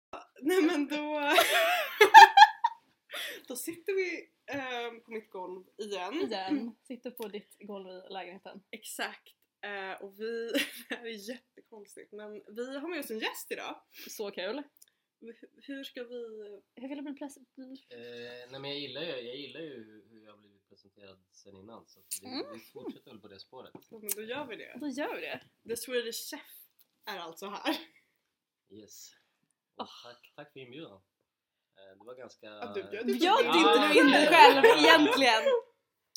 ehm, igen. Igen, sitter på ditt golv i lägenheten. Exakt. Eh, och vi, det här är jättekonstigt men vi har med oss en gäst idag. Så kul! Hur- Hur ska vi... Hur vill du bli pres- Eh, nej men jag gillar, ju, jag gillar ju hur jag har blivit presenterad sen innan så att vi, Mm. vi fortsätter väl på det spåret. Ja, men då gör vi det. Då gör vi det! The Swedish Chef är alltså här. Yes. Och Ah. tack, tack för inbjudan. Eh, det var ganska... Ja, du bjöd inte Bjöd mig. inte Ah, du in dig okej. själv egentligen?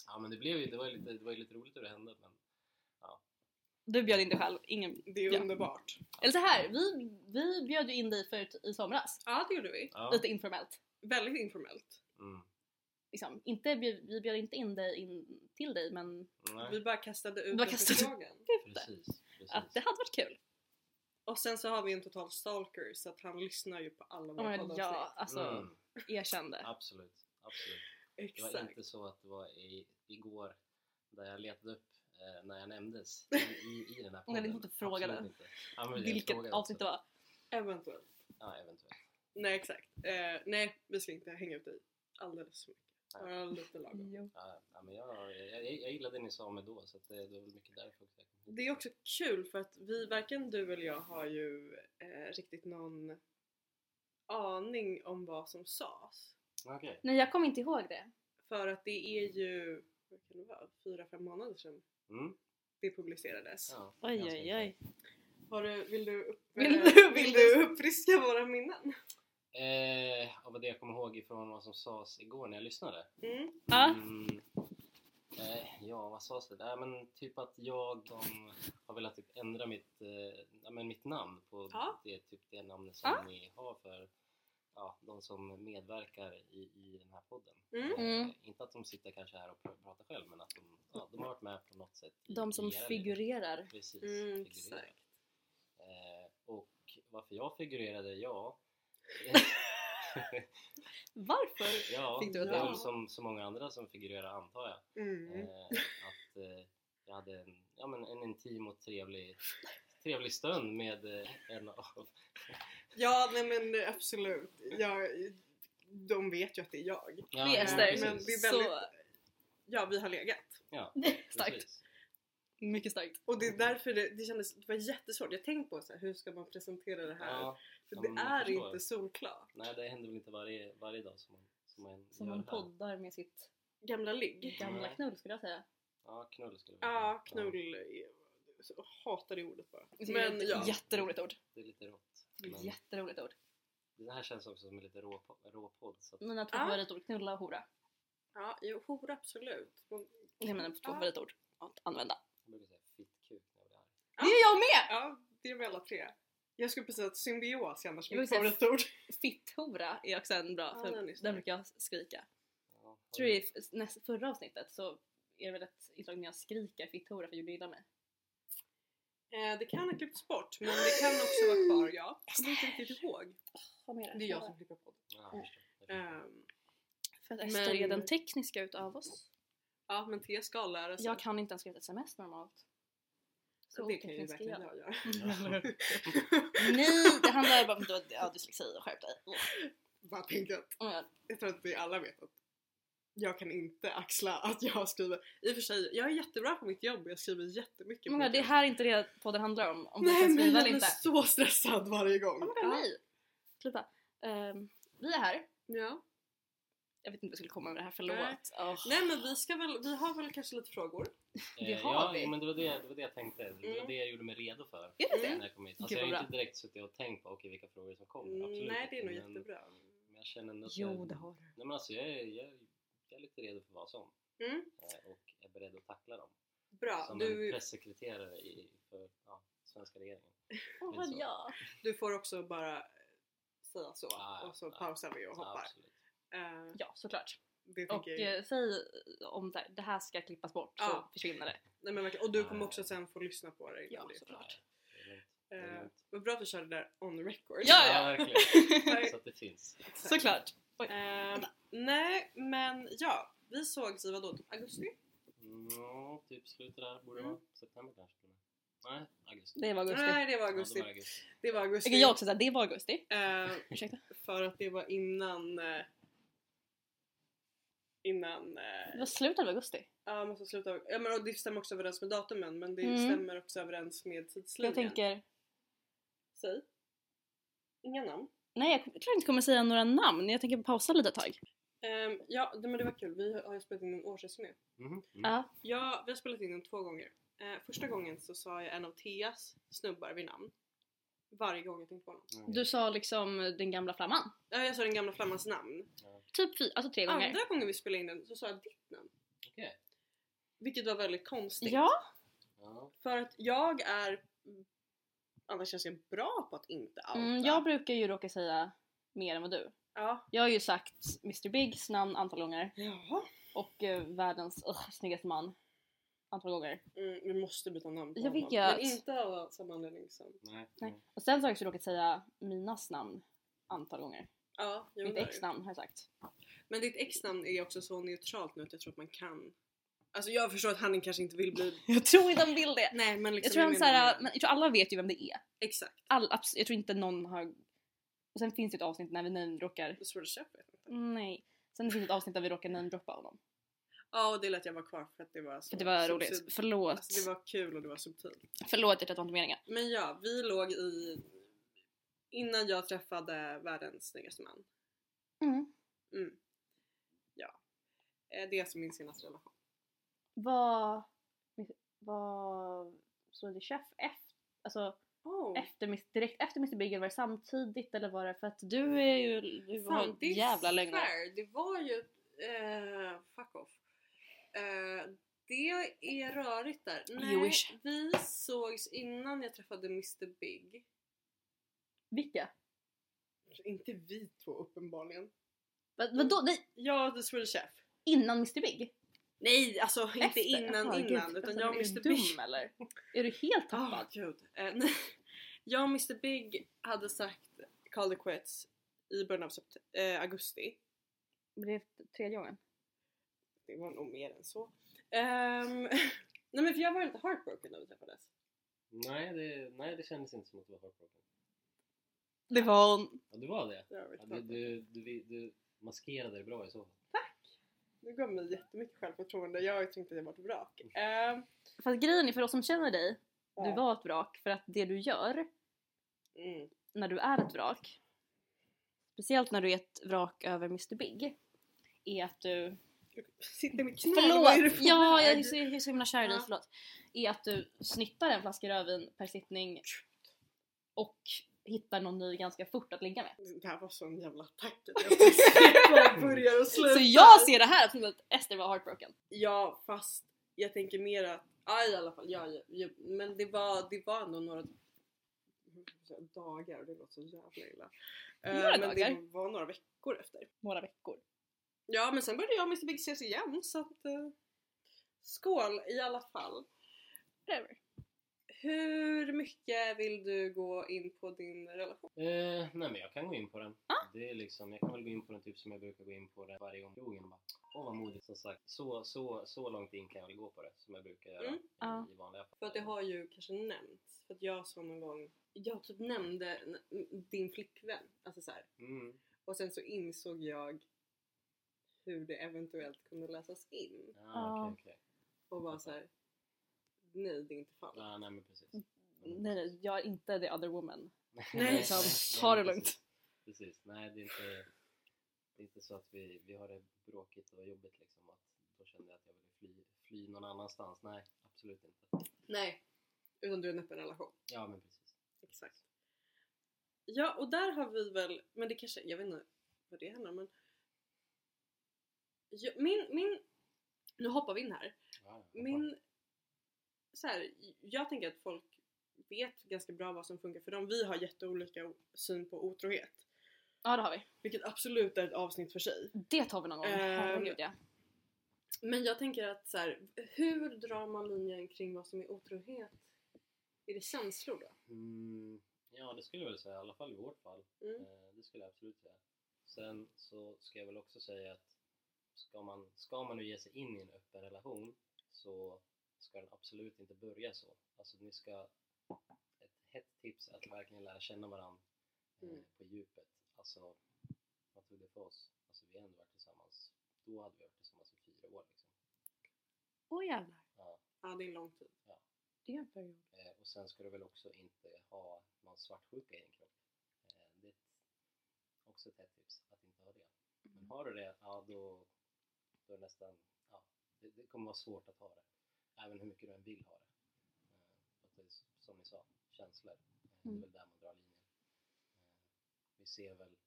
Ja men det blev ju, det var ju lite, det var ju lite roligt hur det hände men Du bjöd in dig själv, ingen... Det är Ja. underbart. Eller så här, vi, vi bjöd ju in dig förut i somras. Ja det gjorde vi. ja. Lite informellt. Väldigt informellt. Mm. Liksom. Inte, bjöd- vi bjöd inte in dig in till dig men Nej, Vi bara kastade ut Bara den kastade- förfrågan. precis. precis. att det hade varit kul. Och sen så har vi en total stalker så att han lyssnar ju på alla Ja, våra men, ja poddavsnitt. alltså Mm, erkände. absolut, absolut. Det var Exakt. inte så att det var i, igår där jag letade upp eh, när jag nämndes i, i, i den här Om jag podden. inte frågade Absolut inte. Ja, men jag Vilket frågade avsnitt det också. var. Eventuellt. Ja, eventuellt. Nej exakt. Eh, nej vi ska inte hänga ut dig alldeles för mycket. Bara lite lagom. Ja, ja, men jag, jag, jag jag gillade det ni sa med då så att det, det var väl mycket därför också. Det är också kul för att vi, varken du eller jag har ju eh, riktigt någon aning om vad som sades. Okej. Nej jag kommer inte ihåg det. För att det är ju, vad kan det vara, fyra, fem månader sedan Mm. det publicerades. Ja, Oj ganska oj oj. Har du, vill du, upp, Vill eh, du- vill du uppfriska våra minnen? mycket. Eh, av det jag kommer ihåg ifrån vad som sades igår när jag lyssnade. Mm. Ja. Mm. Eh, ja, vad sades det? Nej, men typ att jag som har velat typ ändra mitt, eh, ja, men mitt namn på Ja. det, typ det namnet som Ja. ni har för ja, de som medverkar i, i den här podden. Mm. Mm. Eh, inte att de sitter kanske här och pr- pratar själv men att de, ja, de har varit med på något sätt. i- De i som era liv. figurerar. Precis, Mm, figurerar. exakt. Eh, och varför jag figurerade, ja. Varför? ja, Fick det du ett är ja? väl som, som många andra som figurerar antar jag. Mm. Eh, att eh, jag hade en, ja, men en intim och trevlig, trevlig stund med eh, en av... Ja, nej men absolut. Jag, de vet ju att det är jag. Ja, Vi är men stark. men det precis. är väldigt- Så Ja, vi har legat. Ja, starkt. precis. Mycket starkt. Och det är därför det, det kändes, det var jättesvårt. Jag tänkte på så här, hur ska man presentera det här? Ja, För ja, det men jag är förstår. inte solklart. nej, det händer väl inte varje, varje dag som man, som man Som gör hon här. poddar med sitt Gamla ligg. gamla Mm. Nej. knull skulle jag säga. Ja, knull skulle jag vilja Ja, säga. knull. Jag hatar det ordet bara. Det är Men ett ja. Jätteroligt ord. Det är lite rått. Men Jätteroligt ord. det här känns också som en lite rå, rå podd. Så att, Mina två Ja. favoritord, knulla och hora. Ja, jo, hora absolut. Men, Det är mina två Ja. favoritord att använda. jag brukar säga fittkuk när jag blir arg. Ja. Det är jag med! ja, det är väl alla tre. Jag skulle precis säga att symbios är annars Jag mitt vill säga- favoritord. Fitthora är också en bra, Ja, för den är snygg. Ah, den brukar jag skrika. Ja, Jag tror det är f- näst, förra avsnittet så är det väl ett inslag när jag skriker fitthora för Judy gillar mig. Eh, det kan ha klippts bort, men det kan också vara kvar, ja. Jag kommer inte riktigt ihåg. Vad menar Det är jag som klipper på det. Ja, jag förstår. Jag förstår. Ehm, För att Men- Ester är den tekniska utav oss. ja, men T ska lära sig. Jag kan inte ens skriva ett sms normalt. Alltså. Så det kan ju oteknisk är verkligen jag göra. jag. Nej, det handlar bara om att du har ja, dyslexi och skärp dig. Bara tänkte att Och jag- jag tror att vi alla vet att jag kan inte axla att jag skriver. I och för sig, jag är jättebra på mitt jobb och jag skriver jättemycket. på Men ja, mitt det jobb. här är inte det podden handlar om, om man Nej kan men skriva jag eller blir inte. så stressad varje gång. Ja, men nej! Sluta. Ehm, vi är här. Ja. Jag vet inte om jag skulle komma med det här, förlåt. Nej. Åh. Nej men vi ska väl, vi har väl kanske lite frågor. det Eh, har ja, vi. men det var det, det var det jag tänkte. Det var Mm. det jag gjorde mig redo för. Är det det? Mm. När jag kom hit. Alltså, Gud, jag vad har bra. ju inte direkt suttit och tänkt på okej vilka frågor som kommer. Absolut Mm, Nej det är nog inte, men- jättebra. Men jag känner ändå att Jo, jag, det har du. Nej, men alltså, jag, är, jag, är- jag är lite redo för vad som. Mm. Eh, och är beredd att tackla dem. Bra, som en du, pressekreterare i, för ja, svenska regeringen. Åh, vad jag. du får också bara säga så Ah, och så ah. pausar vi och Ja, hoppar. absolut. Eh, Ja, såklart. det Och tänker jag. eh, säg om det här, det här ska klippas bort Ja. så försvinner det. Nej, men verkligen. Och du Ah. kommer också sen få lyssna på det. Ja, innan det. såklart. Det är lugnt. Det är Eh, lugnt. Vad bra att vi körde det där on record. Ja, ja. verkligen. Så att det finns. såklart. Ehm, nej men ja, vi sågs i vadå? Typ augusti? Ja, typ slutet där borde det Mm. vara. September kanske till och med. Nej, augusti. Det var augusti. Nej det var Ja, det augusti. var augusti. det var augusti. Vilket jag också säga, det var augusti. Ehm, Ursäkta. för att det var innan eh, innan... eh, Det var slutet av augusti. Ja, man ska sluta. Ja, men och det stämmer också överens med datumen men det Mm. stämmer också överens med tidslinjen. Jag tänker, Säg. Inga namn. nej jag tror jag inte kommer säga några namn. Jag tänker pausa lite ett tag. Ehm, ja, det- men det var kul. Vi har ju spelat in en årsresume. Mhm. Mm. Ja. Ja, vi har spelat in den två gånger. Eh, första gången så sa jag en av Theas snubbar vid namn. Varje gång jag tänkte på honom. Okej. Du sa liksom den gamla flamman. Ja, jag sa den gamla flammans namn. Typ fy, alltså tre gånger. Andra gången vi spelade in den så sa jag ditt namn. Okej. Vilket var väldigt konstigt. Ja, Ja. För att jag är annars ganska bra på att inte outa. mm, jag brukar ju råka säga mer än vad du. Ja. Jag har ju sagt Mr Bigs namn antal gånger Jaha. och eh, världens ugh, snyggaste man antal gånger. Mm, vi måste byta namn på Jag honom. vet. Men inte av samma anledning som... Nej. Nej. Nej. Och sen så har jag också råkat säga Minas namn antal gånger. Ja, jo, Mitt där är det. ex-namn har jag sagt. Men ditt ex-namn är också så neutralt nu att jag tror att man kan... Alltså jag förstår att han kanske inte vill bli... Jag tror inte han vill det! Nej men liksom... Jag tror, han, menar såhär, mer- men jag tror alla vet ju vem det är. Exakt. All, abs- jag tror inte någon har... Och sen finns det ett avsnitt när vi namedroppar... Det är svårt att köpa. vet jag inte. Nej. Sen finns det ett avsnitt där vi råkar namedroppa honom. Ja och det lät jag vara kvar för att det var så... För det var subtilt. roligt. Förlåt. Alltså det var kul och det var subtilt. Förlåt hjärtat, det var inte meningen. Men ja, vi låg i... Innan jag träffade världens snyggaste man. Mm. Mm. Ja. Eh, Det är alltså min senaste relation. Vad... Vad... Så det chef efter... Alltså Oh. efter, Miss- direkt efter Mr Big eller var det samtidigt eller var det för att du är ju... Du var Fan, en det är jävla lögnare. fair. Det var ju... eh, fuck off. Eh, det är rörigt där. Nej, Jewish. vi sågs innan jag träffade Mr Big. Vilka? Inte vi två uppenbarligen. Vad, vadå? Nej, Jag och The Swedish Chef. innan Mr Big? Nej, alltså inte Efter? innan Jaha, innan. gud, utan alltså, jag och är du Mr Big. dum eller? Är du helt Oh, tappad? gud. Eh, nej. jag och Mr Big hade sagt call it quits i början av sept- eh, augusti. Det är tredje gången. Det var nog mer än så. Ehm, nej men för jag var lite heartbroken när vi träffades. Nej, det, nej, det kändes inte som att du var heartbroken. Det var hon. Ja, du var det. Det var Ja, väldigt du, skönt. du, du, du maskerade det bra i så fall. Det gav mig jättemycket självförtroende. Jag tänkte att jag var ett vrak. Ehm, Fast grejen är för oss som känner dig, du ja. var ett vrak för att det du gör Mm. när du är ett vrak, speciellt när du är ett vrak över Mr Big, är att du... Sitter med knä. vad är du Förlåt! för Ja, jag väg? är så, jag är så himla kär i dig, Ja. förlåt. Är att du snittar en flaska rödvin per sittning och hittar någon ny ganska fort att ligga med. Det här var sån jävla attack. att Jag fick se från början och slut. Så jag ser det här som att Ester var heartbroken. Ja fast jag tänker mer att, ja i alla fall, ja, ja, ja, men det var, det var ändå några dagar, det låter så jävla illa. Eh, Några men dagar? det var några veckor efter. Några veckor. Ja men sen började jag och Mr Big ses igen så att eh, skål i alla fall. Whatever. Hur mycket vill du gå in på din relation? Eh, nej men jag kan gå in på den. Det är liksom, jag kan väl gå in på den typ som jag brukar gå in på den varje gång krogen och bara Åh vad modigt som sagt. Så, så, så långt in kan jag väl gå på det som jag brukar göra Mm. i, Ja. i vanliga fall. För att det har ju kanske nämnts, för att jag sa någon gång, jag typ nämnde n- din flickvän, alltså så här. Mm. Och sen så insåg jag hur det eventuellt kunde läsas in Ah, Ja. okej okej. och var så här. nej det är inte fallet. Ah, nej men precis. Nej, nej, jag är inte the other woman. Nej. Liksom, ta det lugnt. Precis, nej det är inte, det är inte så att vi, vi har det bråkigt och jobbigt liksom att då kände jag att jag ville fly, fly någon annanstans. Nej, absolut inte. Nej. Utan du är en öppen relation. Ja men precis. Exakt. Ja och där har vi väl, men det kanske, jag vet inte vad det handlar om men Ja, min, min, nu hoppar vi in här. Ja, ja. Min, så här, jag tänker att folk vet ganska bra vad som funkar för dem. Vi har jätteolika o- syn på otrohet. Ja det har vi. Vilket absolut är ett avsnitt för sig. Det tar vi någon gång. Ehm, Herregud ja. Men jag tänker att så här, hur drar man linjen kring vad som är otrohet? Är det känslor då? Mm, ja, det skulle jag väl säga. I alla fall i vårt fall. Mm. Eh, det skulle jag absolut säga. Sen så ska jag väl också säga att ska man, ska man nu ge sig in i en öppen relation så ska den absolut inte börja så. Alltså ni ska... Ett hett tips är att verkligen lära känna varandra eh, Mm. på djupet. Alltså, vad tog det för oss? Alltså vi har ändå varit tillsammans då hade vi varit tillsammans i fyra år. Liksom. Åh jävlar. Ja. Ja, det är en lång tid. Det är en period. Eh, och sen ska du väl också inte ha någon svartsjuka i din kropp. Eh, det är ett, också ett hett tips att inte ha det. Men har du det, ja då, då är det nästan, ja, det, det kommer vara svårt att ha det. Även hur mycket du än vill ha det. Eh, för att det är, s- som ni sa, känslor. Eh, Mm. Det är väl där man drar linjen. Eh, vi ser väl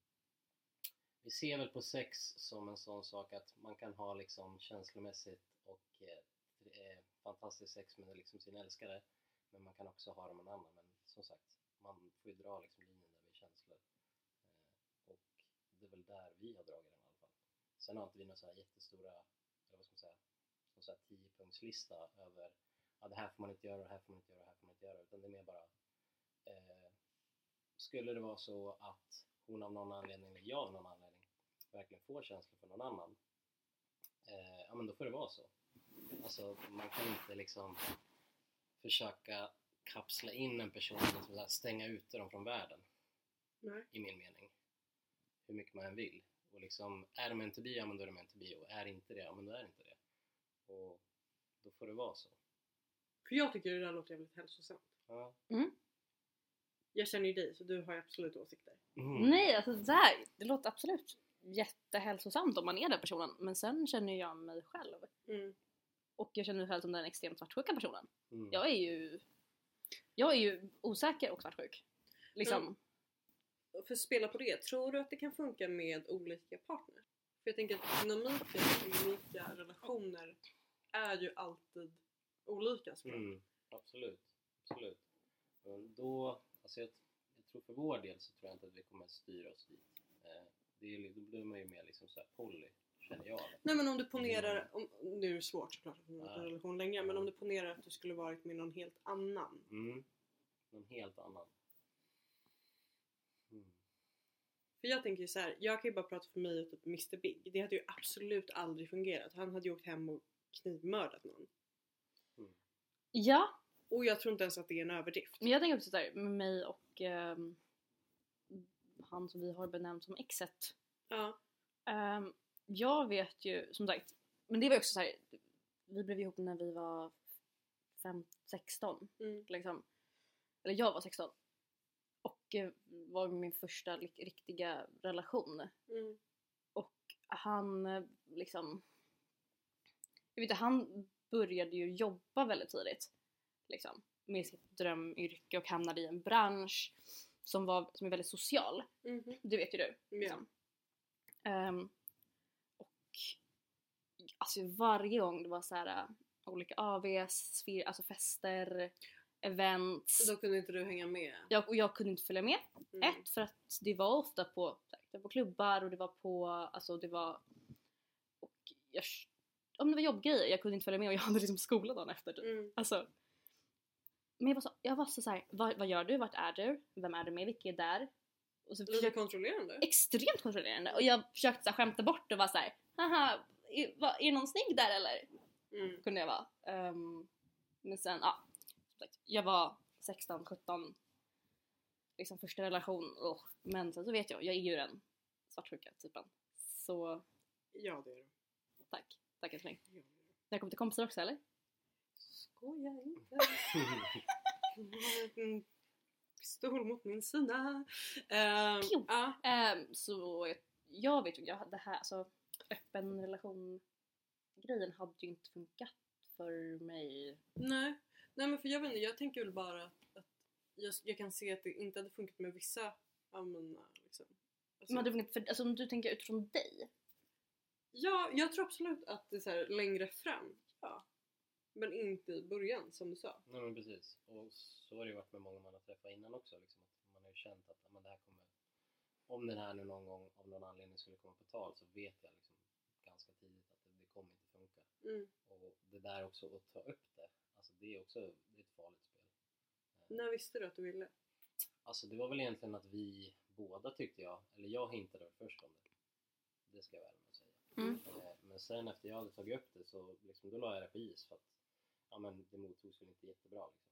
vi ser väl på sex som en sån sak att man kan ha liksom känslomässigt och eh, det är fantastisk sex med liksom sin älskare men man kan också ha det med en annan. Men som sagt, man får ju dra liksom linjen där med känslor. Eh, och det är väl där vi har dragit den i alla fall. Sen har inte vi några så här jättestora, eller vad ska man säga, någon så här tiopunktslista över ja, det här får man inte göra, det här får man inte göra, det här får man inte göra. Utan det är mer bara eh, skulle det vara så att hon av någon anledning, eller jag av någon anledning, verkligen får känslor för någon annan, eh, ja men då får det vara så. Alltså man kan inte liksom försöka kapsla in en person, liksom, så här, stänga ute dem från världen Nej. i min mening. Hur mycket man än vill. Och liksom, är det meant to be, ja men då är det meant to be. Och är det inte det, ja men då är det inte det. Och då får det vara så. För jag tycker det där låter jävligt hälsosamt. Ja. Jag känner ju dig så du har ju absolut åsikter. Mm. Nej, alltså det här, det låter absolut jättehälsosamt om man är den personen. Men sen känner jag mig själv. Mm. Och jag känner mig själv som den extremt svartsjuka personen. Mm. Jag är ju, jag är ju osäker och svartsjuk. Liksom. Mm. Och För att spela på det, tror du att det kan funka med olika partners? För jag tänker att dynamiken i olika relationer är ju alltid olika såklart. Mm, absolut. absolut. Men då, alltså jag, jag tror för vår del så tror jag inte att vi kommer att styra oss dit. Eh, det är, ju- då blir man ju mer liksom så här poly, känner jag. Nej men om du ponerar, om, nu är det svårt såklart att ha Ja. en relation längre, men om du ponerar att du skulle varit med någon helt annan. Mm. Någon helt annan. Mm. För jag tänker ju så här, jag kan ju bara prata för mig och typ Mr Big. Det hade ju absolut aldrig fungerat. Han hade ju åkt hem och knivmördat någon. Ja, Och jag tror inte ens att det är en överdrift. men jag tänker också såhär med mig och ehm, han som vi har benämnt som exet. Ja. Ehm, jag vet ju som sagt, men det var ju också så här. vi blev ihop när vi var fem, 16 Mm. liksom. Eller jag var 16. Och eh, var min första lik- riktiga relation. Mm. han eh, liksom... Jag vet inte, han började ju jobba väldigt tidigt. Liksom, med sitt drömyrke och hamnade i en bransch som, var, som är väldigt social. Mhm. Det vet ju du. Ja. Liksom. Ehm, och alltså varje gång det var så här äh, olika AVs, fir- alltså fester, events. Då kunde inte du hänga med. Jag, och jag kunde inte följa med. Mm. Ett, för att det var ofta på, det var på klubbar och det var på, alltså det var... Och jag, ja, men det var jobbgrejer, jag kunde inte följa med och jag hade liksom skola dagen efter typ. Mm. Alltså. Men jag var så, jag var så, så här, vad, vad gör du, vart är du, vem är du med, vilka är där? Och så Lite försökte, kontrollerande. extremt kontrollerande och jag försökte så här, skämta bort och vara så här, haha, är, vad, är det någon snygg där eller? Mm. kunde jag vara. Ehm, men sen, ja. som sagt, Jag var 16, 17. Liksom första relation. ugh. Men sen så vet jag, jag är ju den svartsjuka typen. Så Ja det är det. tack. Tack älskling. Ja, det är det. Det här kommer till kompisar också eller? Skoja inte. Jag har en Mm. pistol mot min sida. Ehm, Pju. ja. Ehm, så jag, jag vet ju, jag hade det här, alltså öppen relation grejen hade ju inte funkat för mig. Nej. Nej men för jag vet inte, jag tänker väl bara att, att jag, jag kan se att det inte hade funkat med vissa av mina liksom. Alltså, Men hade det funkat för, alltså om du tänker utifrån dig. Ja, jag tror absolut att det är så här, längre fram. Ja. Men inte i början som du sa. Nej men precis. Och så har det ju varit med många man har träffat innan också. Liksom, att man har ju känt att men det här kommer, om den här nu någon gång av någon anledning skulle komma på tal så vet jag liksom ganska tidigt att det, det kommer inte funka. Mm. Och det där också att ta upp det, alltså det är också det är ett farligt spel. Eh, När visste du att du ville? Alltså det var väl egentligen att vi båda tyckte jag, eller jag hintade väl först om det. Det ska jag vara ärlig med att säga. Mm. Eh, Men sen efter jag hade tagit upp det så liksom, då la jag det på is för att ja, men, det mottogs väl inte jättebra. Liksom.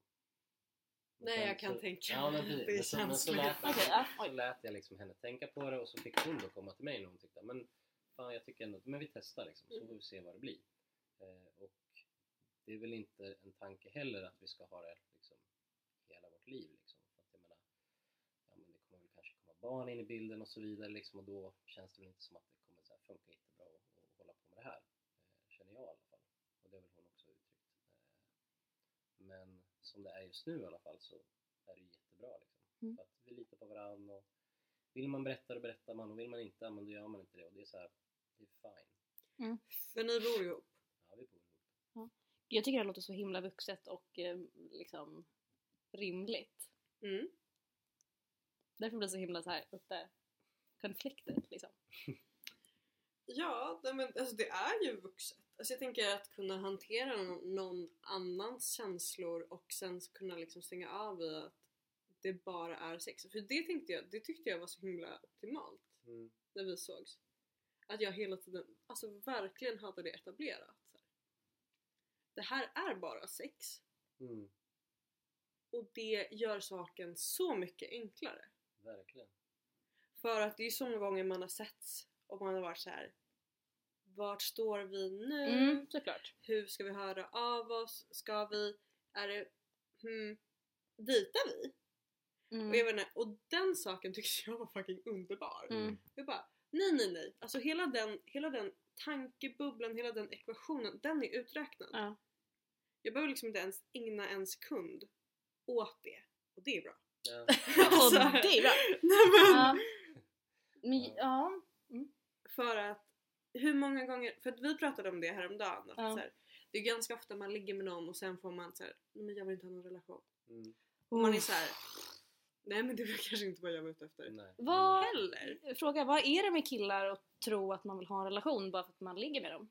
Men Nej, sen jag kan så, tänka mig ja, men, att precis. det är Men så- men så känsligt. lät, Okej, ja. så lät jag liksom henne tänka på det och så fick hon då komma till mig när hon tyckte men fan jag tycker ändå att men vi testar liksom, så Mm. får vi se vad det blir. Eh, och det är väl inte en tanke heller att vi ska ha det liksom, hela vårt liv. Liksom. För att jag menar, ja, men det kommer väl kanske komma barn in i bilden och så vidare liksom, och då känns det väl inte som att det kommer så här funka jättebra och, och hålla på med det här. Eh, känner jag i alla fall. Och det har väl hon också uttryckt. Eh, men som det är just nu i alla fall så är det ju jättebra. Liksom. Mm. För att vi litar på varandra och vill man berätta då berättar man och vill man inte, ja, men då gör man inte det. Och det är så här, det är fine. Men ni bor ihop. Ja, vi bor ihop. Jag tycker det låter så himla vuxet och eh, liksom rimligt. Mm. Därför blir det så himla så här uppe konfliktet liksom. Ja, nej, men alltså det är ju vuxet. Alltså jag tänker att kunna hantera någon- någon annans känslor och sen kunna liksom stänga av i att det bara är sex. För det tänkte jag, det tyckte jag var så himla optimalt när vi sågs. Att jag hela tiden, alltså verkligen hade det etablerat. Så här. Det här är bara sex Mm, och det gör saken så mycket enklare. verkligen. För att det är så många gånger man har setts och man har varit så här. Vart står vi nu? Mm, såklart. Hur ska vi höra av oss? Ska vi? Är det... Hmm, ditar vi? Och, jag Mm. vet inte, och den saken tyckte jag var fucking underbar. Mm. Jag bara, nej nej nej. Alltså hela den, hela den tankebubblan, hela den ekvationen, den är uträknad. Ja. Jag behöver liksom inte ens ägna en sekund åt det. Och det är bra. Ja, Och Alltså- det är bra! nej, men, Ja. Men, Ja. ja. För att hur många gånger, för att vi pratade om det häromdagen att Ja. så här, det är ganska ofta man ligger med någon och sen får man såhär, nej men jag vill inte ha någon relation. mm, Och man är så här. nej men det var kanske inte vad jag var ute efter. nej. Vad- Heller! Fråga, vad är det med killar att tro att man vill ha en relation bara för att man ligger med dem?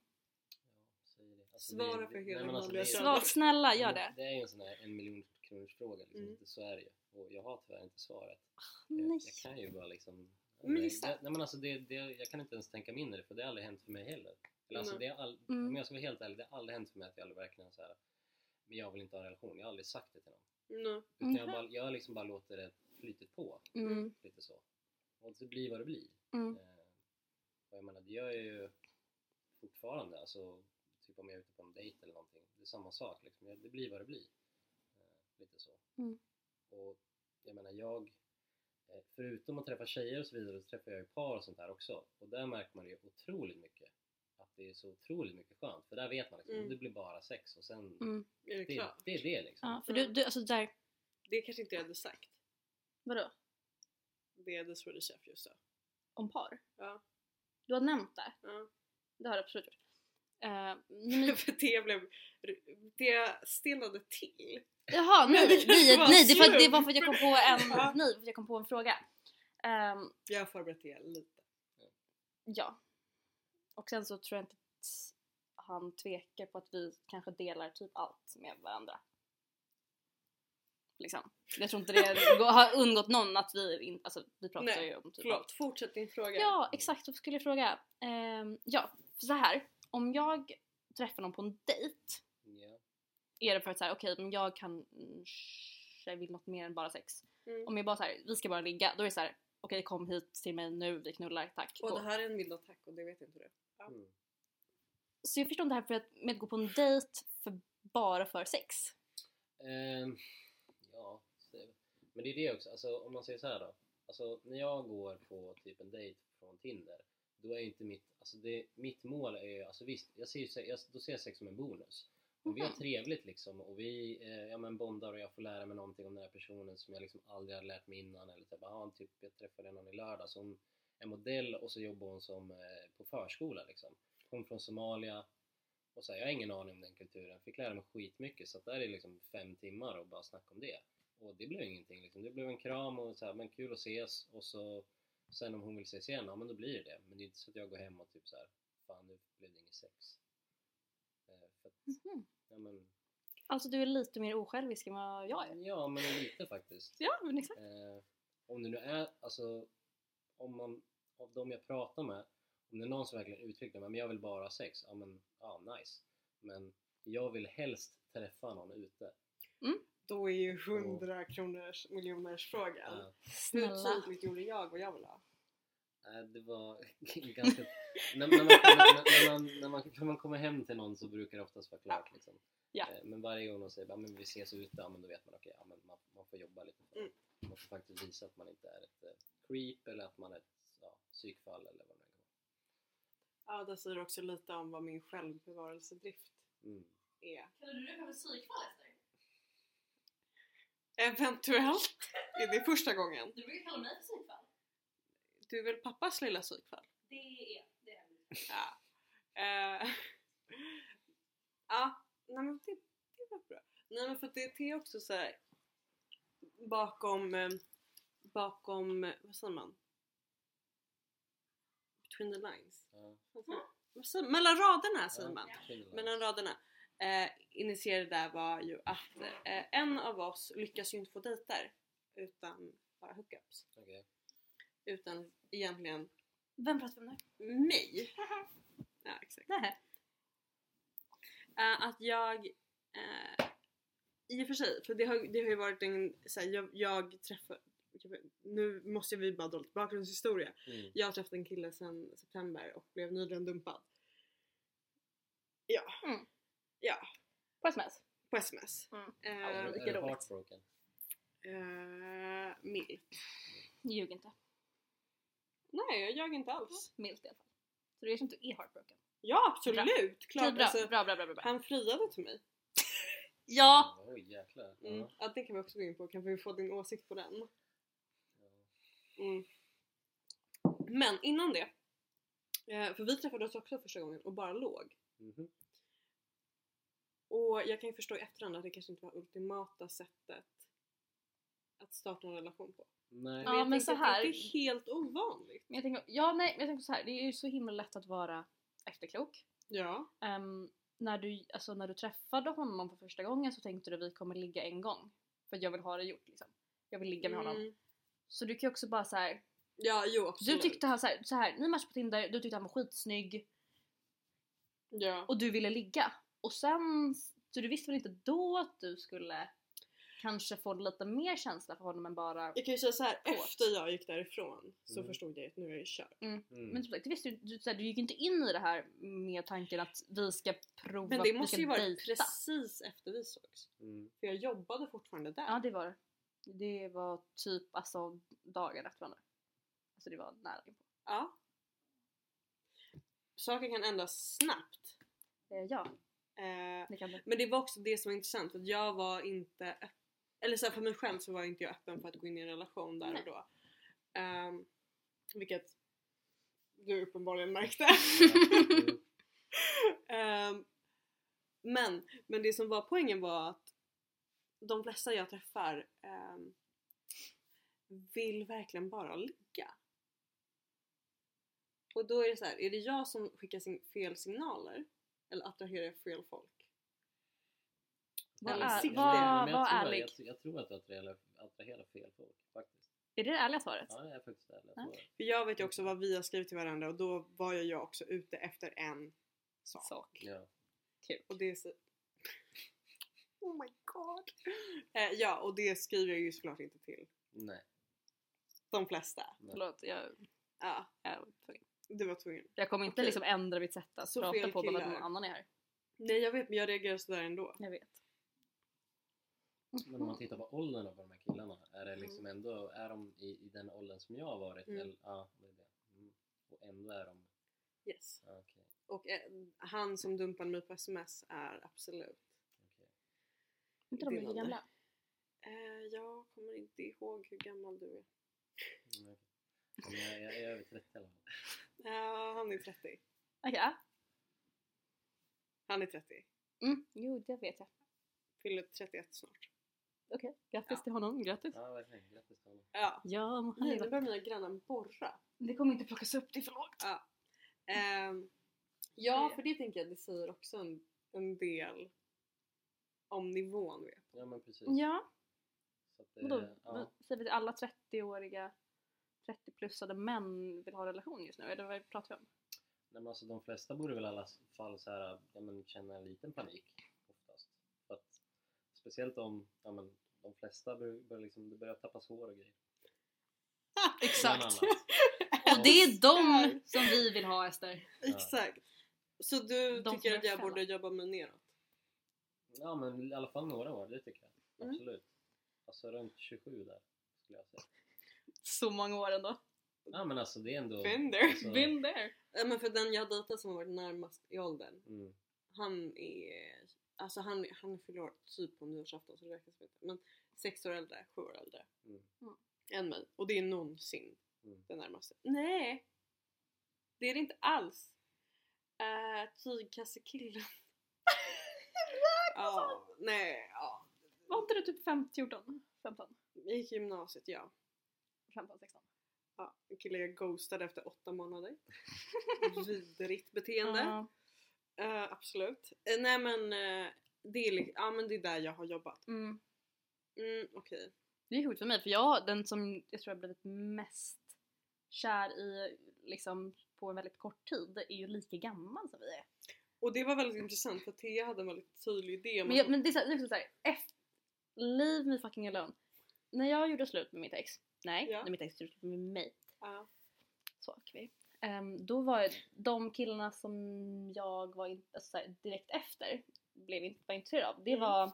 Ja, säg det. Alltså, Svara det är- för det- hela nej, men alltså, manliga det är- Mm. könet. Svar, snälla gör det! Det är ju en sån här en miljon kronors fråga liksom. Mm. Så är det ju. Och jag har tyvärr inte svaret. Nej. Jag, jag kan ju bara liksom... Men Nej, gissa. det, nej, men alltså det, det, jag kan inte ens tänka mig in i det för det har aldrig hänt för mig heller. Eller alltså, Nej. det har all, Mm. Om jag ska vara helt ärlig, det har aldrig hänt för mig att jag aldrig verkligen så här. Men jag vill inte ha en relation. Jag har aldrig sagt det till någon. No. Utan jag, Mhm. bara, jag har liksom bara låter det flytit på. Mm. Lite så. Och det blir vad det blir. Mm. Eh, och jag menar, det gör jag ju fortfarande. Alltså, typ om jag är ute på en dejt eller någonting. Det är samma sak. Liksom. Jag- Det blir vad det blir. Eh, lite så. Mm. Och jag menar, jag... eh, Förutom att träffa tjejer och så vidare så träffar jag ju par och sånt här också. Och där märker man ju otroligt mycket. Att det är så otroligt mycket skönt. För där vet man liksom, Mm. det blir bara sex och sen... Mm. Är det Det, klart? det är det liksom. Ja, för du, du, alltså där, Det kanske inte jag hade sagt. vadå? Det The Swedish Chef just sa. Om par? Ja. Du har nämnt det? Ja. Det har du absolut gjort. Eh, men- För det blev... Det stelnade till. Jaha, nej, Men det nej, kanske nej, var det, var, det slump. var för att jag kom på en, Ja. nej, för att jag kom på en fråga. Ehm, Jag har förberett det lite. ja. Och sen så tror jag inte att han tvekar på att vi kanske delar typ allt med varandra. Liksom. Jag tror inte det går- har undgått någon att vi inte, alltså vi pratar Nej, ju om typ allt. Förlåt, fortsätt din fråga. Ja, exakt. Vad skulle jag fråga? Ehm, ja, för så här. Om jag träffar någon på en dejt Ja. är det för att säga okej, men jag kan jag vill något mer än bara sex. Mm. Om jag bara säger vi ska bara ligga, då är det så här, okej kom hit till mig nu, vi knullar, tack. Och gå. det här är en mild attack och det vet inte du. Mm. Så jag förstår inte det här för att, med att gå på en dejt för, bara för sex. Ehm, ja, så- men det är det också. Alltså, om man säger så här då. Alltså, när jag går på typ en dejt från Tinder, då är ju inte mitt... Alltså det, mitt mål är ju... Alltså visst, jag ser, ju se- jag, då ser jag sex som en bonus. Om vi har Mhm. trevligt liksom och vi eh, ja, men bondar och jag får lära mig någonting om den här personen som jag liksom aldrig hade lärt mig innan. Eller typ, ah, typ jag träffade någon i lördags. Hon är modell och så jobbar hon som eh, på förskola liksom. Hon från Somalia. Och så här, jag har ingen aning om den kulturen. Fick lära mig skitmycket så att där är liksom fem timmar och bara snack om det. Och det blev ingenting liksom. Det blev en kram och så här, men kul att ses och så sen om hon vill ses igen, ja men då blir det det. Men det är inte så att jag går hem och typ så här, fan nu blev det inget sex. Eh, för att, Mhm. ja men, Alltså du är lite mer osjälvisk än vad jag är. ja men lite faktiskt. Ja, men exakt. Eh, om det nu är, alltså, om man, av de jag pratar med, om det är någon som verkligen uttrycker men jag vill bara ha sex, ja men, ja nice. Men jag vill helst träffa någon ute. Då är ju 100 kronors miljoners frågan. Eh, Hur Snälla. tydligt gjorde jag vad jag vill ha? Nej, Eh, det var ganska... när, när, man, när, när, man, när, man, när man kommer hem till någon så brukar det oftast vara klart liksom. Ja. Eh, Men varje gång de säger bara, men vi ses ute, ja, men då vet man okej, ja, men man, man får jobba lite. för det. Mm. Man får faktiskt visa att man inte är ett eh, creep eller att man är ett ja, psykfall eller vad det nu Ja, det säger också lite om vad min självbevarelsedrift är. Mm. är. Kallar du det för psykfall Ester? Eventuellt är det första gången. Du brukar kalla mig för psykfall. Du är väl pappas lilla psykfall? Det är det. är det. Ja. Eh, ja, nej men det, det var bra. Nej men för att det är också så här bakom, eh, bakom, eh, vad säger man? Between the lines? Ja. Vad säger- vad säger- Mellan raderna säger man. Ja, skillnad. Mellan raderna. Eh, initierade där var ju att eh, en av oss lyckas ju inte få dejter utan bara hookups. Okej. Utan egentligen Vem pratar vi om nu? mig. ja, exakt. Nähä. Eh, att jag... eh, I och för sig, för det har, det har ju varit en... Så här, jag, jag träffar... Nu måste vi bara dra lite bakgrundshistoria. Mm. Jag har träffat en kille sedan september och blev nyligen dumpad. På sms. På sms. Mm. Eh, Är du- vilket är du roligt. heartbroken? eh, milt. Ljug inte. Nej, jag ljög inte alls. Milt i alla fall. Så du erkänner att du är heartbroken. Ja, absolut! Okej, Klart. bra, Alltså, bra, bra, bra, bra, bra. han friade till mig. Ja! Oj jäklar. Mm. Ja. Ja, det kan vi också gå in på. Kan vi få din åsikt på den? Mm. Men innan det, eh, för vi träffades också första gången och bara låg. Ja. Mhm. Och jag kan ju förstå i efterhand att det kanske inte var ultimata sättet att starta en relation på. Nej. Ja. jag men tänker så att här- Det är inte helt ovanligt. Men jag tänker, ja, nej, men jag tänker så här. det är ju så himla lätt att vara efterklok. Ja. Ehm, när, du, alltså, när du träffade honom för första gången så tänkte du vi kommer ligga en gång. För att jag vill ha det gjort liksom. Jag vill ligga med honom. Mm. Så du kan ju också bara så här. Ja, jo Du absolut. tyckte han så här, så här, ni matchade på Tinder, du tyckte han var skitsnygg Ja. och du ville ligga. Och sen, så du visste väl inte då att du skulle kanske få lite mer känsla för honom än bara... Jag kan ju säga så här, Kåt. efter jag gick därifrån så Mm. förstod jag att nu är jag körd. Mm. Men typ, det visste du, du, så här, du gick inte in i det här med tanken att vi ska prova, Men vi det måste ska ju varit dejta. precis efter vi sågs. Mm. För jag jobbade fortfarande där. Ja det var det. Det var typ alltså dagar efter varandra. Alltså det var nära inpå. Ja. Saker kan ändras snabbt. Eh, ja, Eh, det kan du. men det var också det som var intressant för att jag var inte öpp- eller så här, för mig själv så var inte jag öppen för att gå in i en relation där Nej. och då. Ehm, vilket du uppenbarligen märkte. Mm. Ehm, men, men det som var poängen var att de flesta jag träffar ehm, vill verkligen bara ligga. Och då är det så här, är det jag som skickar sin fel signaler? Eller attraherar jag fel folk? Vad Eller är- sikte. vad- Men jag var tror- ärlig. Jag, tror- jag tror att du attraherar, attraherar fel folk faktiskt. Är det det ärliga svaret? Ja, jag är faktiskt Ja. ärlig. Jag tror det. För jag vet ju också vad vi har skrivit till varandra och då var ju jag också ute efter en sak. Sak. Ja. Och det är så... Oh my god! Eh, ja, och det skriver jag ju såklart inte till Nej. de flesta. Förlåt, jag, Ja, jag, det var tvungen. jag kommer inte Okej. liksom ändra mitt sätt att Så prata fel på bara för att killar. någon annan är här. Nej jag vet men jag reagerar sådär ändå. Jag vet. Men Mm. om man tittar på åldern på de här killarna, är det liksom ändå, är de i, i den åldern som jag har varit? Mm. Eller, ja, det är det. Mm. Och ändå är de, Yes. ja, okej. Och eh, han som dumpade mig på sms är absolut. okej. Är inte de lite Bildande. gamla? Eh, jag kommer inte ihåg hur gammal du är. Mm, okej. Men jag, jag är över 30 i alla fall. Ja, han är 30. Okej. ja. Han är 30. Mm. Jo, det vet jag. Fyller 31 snart. Okej, grattis Ja. till honom. Grattis. Ja, verkligen. Grattis till honom. Ja. Ja, men Nej, hej nu då. börjar mina grannar borra. Det kommer inte plockas upp, det är för lågt. Ja. Ehm, ja, för det tänker jag det säger också en, en del om nivån. Vet. Ja, men precis. Ja, Så att det, vadå? Eh, ja. Vad Säger vi till alla 30-åriga 30-plussade män vill ha relation just nu? Eller vad pratar vi om? Nej, men alltså, de flesta borde väl i alla fall så här, ja, men, känna en liten panik oftast. För att, speciellt om ja, men, de flesta bör, bör liksom, det börjar tappas hår och grejer. Exakt. Bland annat. Och Och det är de som vi vill ha Ester. Ja. Exakt. Så du De som tycker är att jag fälla. borde jobba mig neråt? Ja men i alla fall några år, det tycker jag. Mm. Absolut. Alltså runt 27 där skulle jag säga. Så många år ändå. Ja men alltså det är ändå... Been there. Alltså, Been there. Ja, men för den jag dejtat som har varit närmast i åldern, Mm, han är... Alltså han, han fyller år typ på nyårsafton så det räknas inte. Men sex år äldre, sju år äldre mm. än mig. Och det är någonsin Mm. den närmaste. Nej! Det är det inte alls! Uh, Tygkassekillen. Ja, nej, ja. Var inte du typ 15, 14? 15? Jag gick i gymnasiet, ja. 15, 16? ja. En kille jag ghostade efter åtta månader. Vidrigt beteende. Ja. Eh, absolut. Eh, nej men, eh, det är li- ja, men det är där jag har jobbat. Mm. Mm, Okej. Det är sjukt för mig för jag, den som jag tror jag blivit mest kär i liksom på en väldigt kort tid är ju lika gammal som vi är. Och det var väldigt intressant för Thea hade en väldigt tydlig idé. om Men, jag, att- men det är så här- det är också såhär, leave me fucking alone. När jag gjorde slut med mitt ex, nej, Ja. när mitt ex gjorde slut med mig, Ja. så åker vi. Ehm, då var jag- de killarna som jag var in, alltså, så här, direkt efter blev inte, var intresserad av, det Mm. var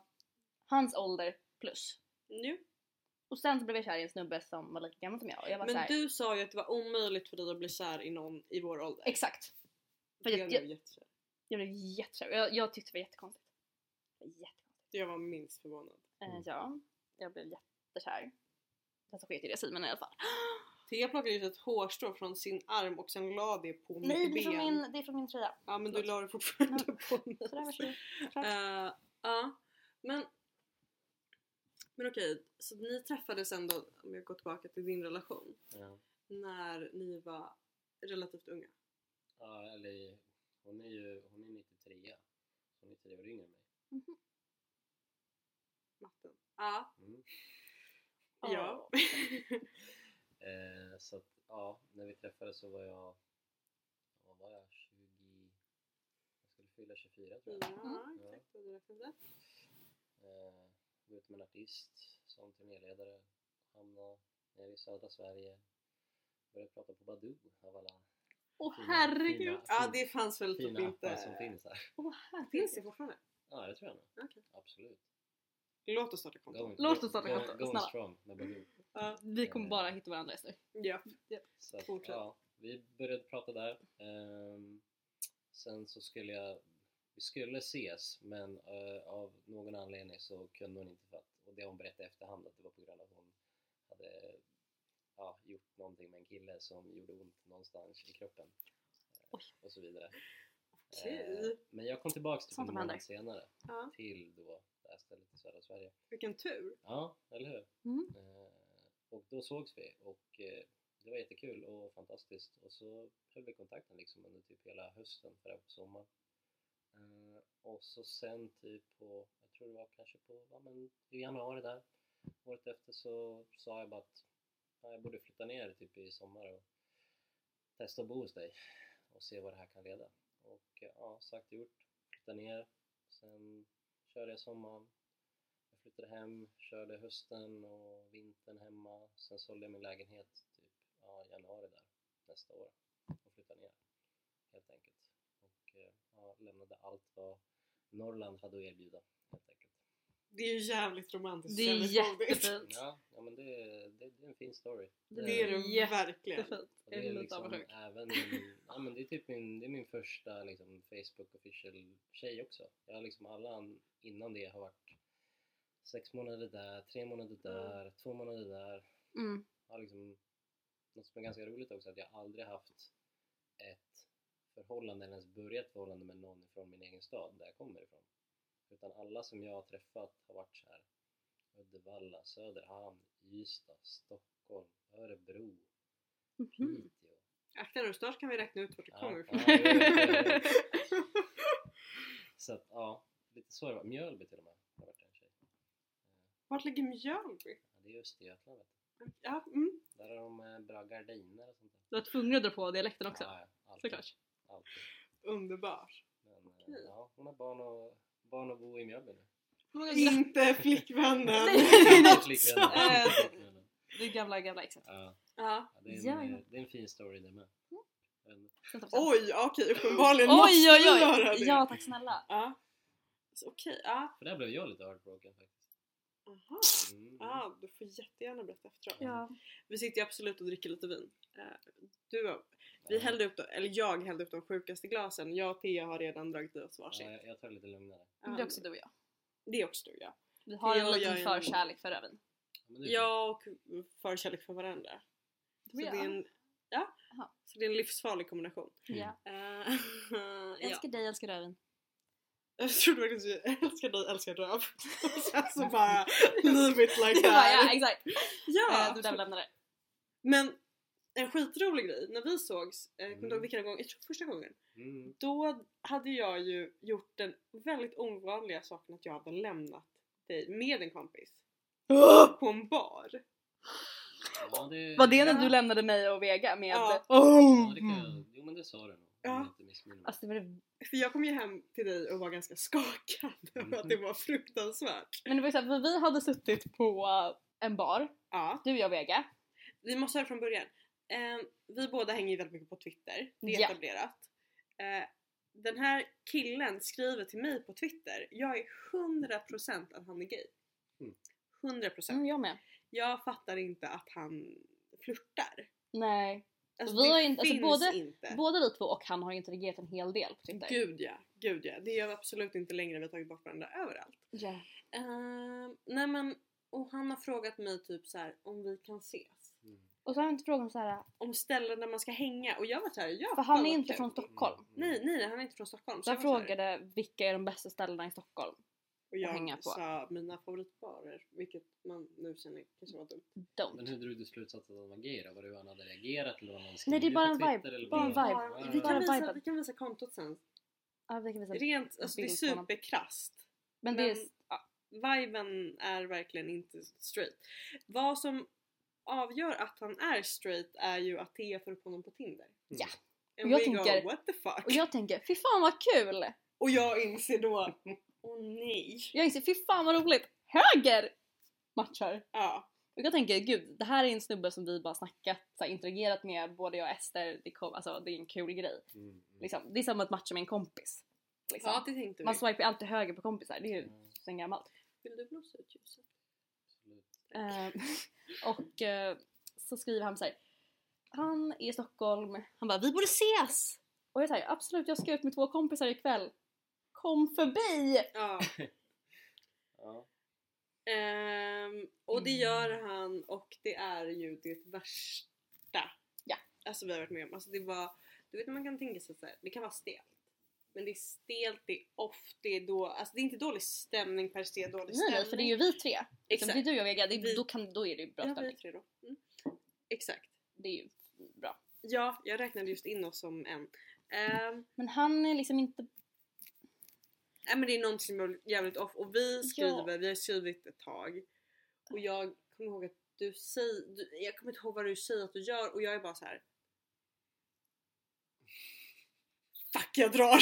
hans ålder plus. Nu. Och sen så blev jag kär i en snubbe som var lika gammal som jag och jag var Men såhär, du sa ju att det var omöjligt för dig att bli kär i någon i vår ålder. exakt. För jag, jag, blev jag, jättekär. jag blev jättekär. Jag, jag tyckte det var jättekonstigt. Det var jättekonstigt. jag var minst förvånad. Eh, Mm. ja, jag blev jättekär. Sen så sket jag i det Simon i alla fall. Thea plockade ut ett hårstrå från sin arm och sen la det på mitt Nej, ben. det är från min, det är från min tröja. Ja men du la det fortfarande på mig. Sådär, varsågod. Eh, Ja, men... Men okej, så ni träffades ändå, om jag går tillbaka till din relation, Ja. när ni var relativt unga. ja eller hon är ju hon är 93 så hon är tre år yngre än mig. Matten. Ja. Mm. Ja. Eh, så att ja, när vi träffades så var jag, vad var jag, 20, jag skulle fylla 24 tror jag. Ja, exakt vad du räknade. Eh, gå ut med en artist som turnéledare, hamna nere i södra Sverige, började prata på Badoo av alla Åh Fina, herregud! fina. Ja, det fanns väl typ fina appar inte... som finns här. Åh Finns det herregud! fortfarande? Ja, det tror jag nog. Okej. Absolut. Låt oss starta konto. Going- Låt oss starta going- konto, Going snälla. strong med Badoo. Ja. Vi kommer bara hitta varandra Ester. Ja. Så att, Fortsätt. ja, vi började prata där. Ehm, sen så skulle jag, vi skulle ses men eh, av någon anledning så kunde hon inte för att, och det har hon berättat i efterhand att det var på grund av att hon hade ja, gjort någonting med en kille som gjorde ont någonstans i kroppen. eh, Oj. Och så vidare. Okej. Eh, men jag kom tillbaks typ en Sånt händer. månad senare Ja. till då det här stället i södra Sverige. Vilken tur. Ja, eller hur? Mm. Eh, och då sågs vi och eh, det var jättekul och fantastiskt och så höll vi kontakten liksom under typ hela hösten för på sommaren. Eh, och så sen typ på, jag tror det var kanske på, ja men i januari där, året efter så sa jag bara att ja, jag borde flytta ner typ i sommar och testa att bo hos dig och se vad det här kan leda. Och eh, ja, sagt och gjort, flyttade ner, sen körde jag sommaren, jag flyttade hem, körde hösten och vintern hemma. Sen sålde jag min lägenhet typ ja, i januari där nästa år och flyttade ner helt enkelt. Och eh, ja, lämnade allt vad Norrland hade att erbjuda helt enkelt. Det är ju jävligt romantiskt. Det är Känner folk jättefint. Ja, ja men det, det, det är en fin story. det. Det är det Jättefint. verkligen. Jättefint. Och Jag det är är lite liksom avundsjuk. även min, ja, men det är typ min, det är min första liksom, Facebook official tjej också. Jag har liksom alla an- innan det har varit sex månader där, tre månader där, två månader där. Mm. Jag har liksom, något som är ganska roligt också är att jag aldrig haft ett förhållande eller ens börjat förhållande med någon från min egen stad där jag kommer ifrån. Utan alla som jag har träffat har varit så här Uddevalla, Söderhamn, Ystad, Stockholm, Örebro, Mhm. Piteå. Akta nu, snart kan vi räkna ut vart du Ja, kommer ja, ifrån. jo, jo, jo, jo. Så att ja, lite så har det varit. Mjölby till och med har varit en tjej. Vart ligger Mjölby? Ja, det är Östergötland vet Ja, mm. du. Där har de eh, bra gardiner och sånt där. Du var tvungen att dra på dialekten också. Ja, ja, alltid. Såklart. alltid. Underbar. Men, eh, Okej. ja, hon har barn och, barn och bo i Mjölby nu. Hur många gra- Inte flickvännen! Nej, nej, nej. Flickvännen. Eh, Flickvännen. Det gamla, gamla exet. Ja, Ja. Ja, det, är en, Ja, ja. eh, det är en fin story det med. Men, Sen tar vi sen. Oj, ja, okej uppenbarligen oj, måste oj, vi göra oj! det. Ja, tack snälla. Ja. Så, Okej, ja. för där blev jag lite heartbroken faktiskt. Aha. Mm. Ja, du får jättegärna berätta efteråt. Ja. Vi sitter ju absolut och dricker lite vin. Eh, Du, har- vi Ja. hällde upp, de- eller jag hällde upp de sjukaste glasen. Jag och Thea har redan dragit i oss varsin. Eh, Ja, jag, jag tar lite lugnare. Men det är också du och jag. Det är också du ja. Vi har Jag en gör liten en- förkärlek för rödvin. men det är Jag och förkärlek för varandra. Så Ja. det är en, ja. Aha. Så det är en livsfarlig kombination. Ja. Eh, Jag ja. älskar dig, jag älskar rödvin. Jag trodde verkligen att jag älskar dig, älskar röv. Och sen så bara leave it like Det var- ja, that. exakt. Ja, Eh, Du där vi lämnade det. Men en skitrolig grej, när vi sågs, eh, kommer du ihåg Mm. vilken gång, jag tror första gången, kul. Mm. då hade jag ju gjort den väldigt ovanliga saken att jag hade lämnat dig med en kompis på en bar. Ja, det, Var det ja, när du lämnade mig och Vega med... mm. Ja. det kan jag, Jo men det sa du nog. om Ja. jag inte missminner mig. Alltså det var det För jag kom ju hem till dig och var ganska skakad över Mm-hmm. att det var fruktansvärt. Men det var ju såhär, vi hade suttit på en bar, Ja, du, jag och Vega. vi måste höra från början. Eh, vi båda hänger ju väldigt mycket på Twitter, det är Ja. etablerat. Eh, den här killen skriver till mig på Twitter, jag är 100% att han är gay. Mm. 100%. Mm, jag med. Jag fattar inte att han flörtar. Nej. Alltså, Vi det har inte- alltså, finns både- inte. Både vi två och han har interagerat en hel del på Twitter. Gud ja, gud ja. Det gör vi absolut inte längre, vi har tagit bort varandra överallt. Ja. Ehm, nej men, och han har frågat mig typ så här om vi kan ses. Mm. Och så har han inte frågat om såhär, Om ställen där man ska hänga och jag var såhär, ja för fan han är vad inte kul. från Stockholm. Mm. Nej, nej han är inte från Stockholm. Så jag var så här- frågade vilka är de bästa ställena i Stockholm? och jag hänga på. sa mina favoritbarer, vilket man nu känner kanske var dumt. Don't. Men hur drog du slutsatsen att han var gay då? Var det hur han hade reagerat eller vad han Nej, det är bara en vibe. Bara en vibe. Bara, vi, Bara kan visa, viben. vi kan visa kontot sen. Ja, vi kan visa. Rent, alltså det är bild på honom. superkrasst. Men det är... men- viben är verkligen inte straight. Vad som avgör att han är straight är ju att Thea får upp honom på Tinder. Mm. Ja. And Och jag we tänker- go what the fuck. Och jag tänker, fy fan vad kul! Och jag inser då, åh nej. Jag inser, fy fan vad roligt! Höger! Matchar. Ja. Och jag tänker, gud, det här är en snubbe som vi bara snackat, så här, interagerat med, både jag och Ester, det, kom, alltså, det är en kul grej. Mm, mm. Liksom. Det är som att matcha med en kompis. Liksom. ja, det tänkte vi. Man swipar ju alltid höger på kompisar, det är ju Mm, sen gammalt. Vill du blåsa ut ljuset? absolut. Eh, och eh, så skriver han så här. Han är i Stockholm. Han bara, vi borde ses! Och jag säger absolut, jag ska ut med två kompisar ikväll. Kom förbi! Ja. Ja. Ehm, och Mm. det gör han och det är ju det värsta Ja. alltså, vi har varit med om. Alltså, det var, du vet när man kan tänka sig att så här, det kan vara stelt. Men det är stelt, det är off, det är då, alltså det är inte dålig stämning per se, dålig Nej, nej, stämning. för det är ju vi tre. Exakt. Det är Exakt. du och jag Vega, det är, Vi- då, kan, då är det ju Ja, bra vi är stämning. tre då. Mm. Exakt. Det är ju bra. Ja, jag räknade just in oss som en. Ehm, Men han är liksom inte... Nej men det är någonting som är jävligt off och vi skriver, vi har skrivit ett tag och jag kommer ihåg att du säger, du, jag kommer inte ihåg vad du säger att du gör och jag är bara så här. Fuck jag drar!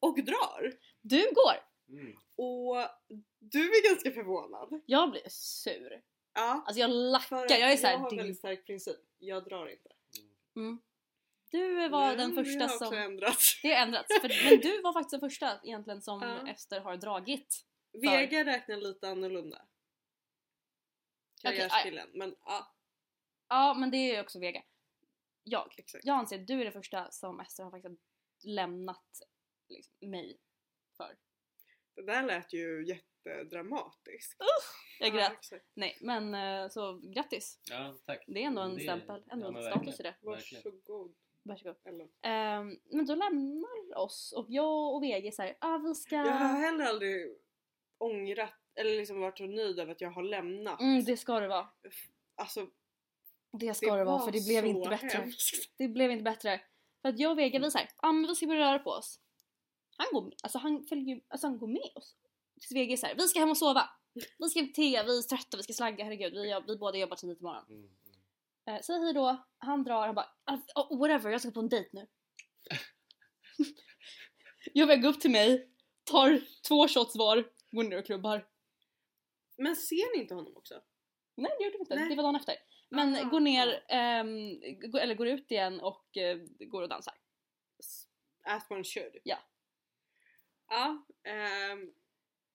och drar! Du går! Mm. Och du är ganska förvånad. Jag blir sur. Ja. Alltså jag för lackar, att jag är jag såhär... har en Du, väldigt stark princip, jag drar inte. du var Men den det första har också som... ändrats. Det har ändrats. För, men du var faktiskt den första egentligen som Ja. Ester har dragit. Vega räknar lite annorlunda. Karriärskillen. Men ja, Ja men det är ju också Vega. Jag. exakt. Jag anser att du är den första som Ester har faktiskt lämnat liksom, mig. Det där lät ju jättedramatiskt. Jag Ja, grät. exakt. Nej men eh, så grattis. Ja, tack. Det är ändå en Det- stämpel, ändå ja, men en status i verkligen. det. Verkligen. Varsågod. Varsågod. Ellen. Ehm, men då lämnar oss och jag och Vega är såhär, ah, vi ska... Jag har heller aldrig ångrat eller liksom varit så nöjd över att jag har lämnat. Mm, det ska det vara. Alltså, Det ska det, vara för det blev så inte bättre. hemskt. Det blev inte bättre. För att jag och Vega vi såhär, ah, men vi ska börja röra på oss. Han går med, alltså han följer ju- alltså han går med oss. Tills Vega är såhär, vi ska hem och sova. Vi ska hem till te, vi är trötta, vi ska slagga, herregud. Vi, jobb- vi båda jobbar tidigt imorgon. Mm, mm. Eh, säg hej då, han drar, han bara "Ah, oh, whatever, jag ska på en dejt nu. jag väger upp till mig, tar två shots var, går ner och klubbar. Men ser ni inte honom också? Nej det gjorde vi inte, Nej. det var dagen efter. Men Aha. går ner, ehm, gå- eller går ut igen och eh, går och dansar. As one should. Ja. Ja. ehm,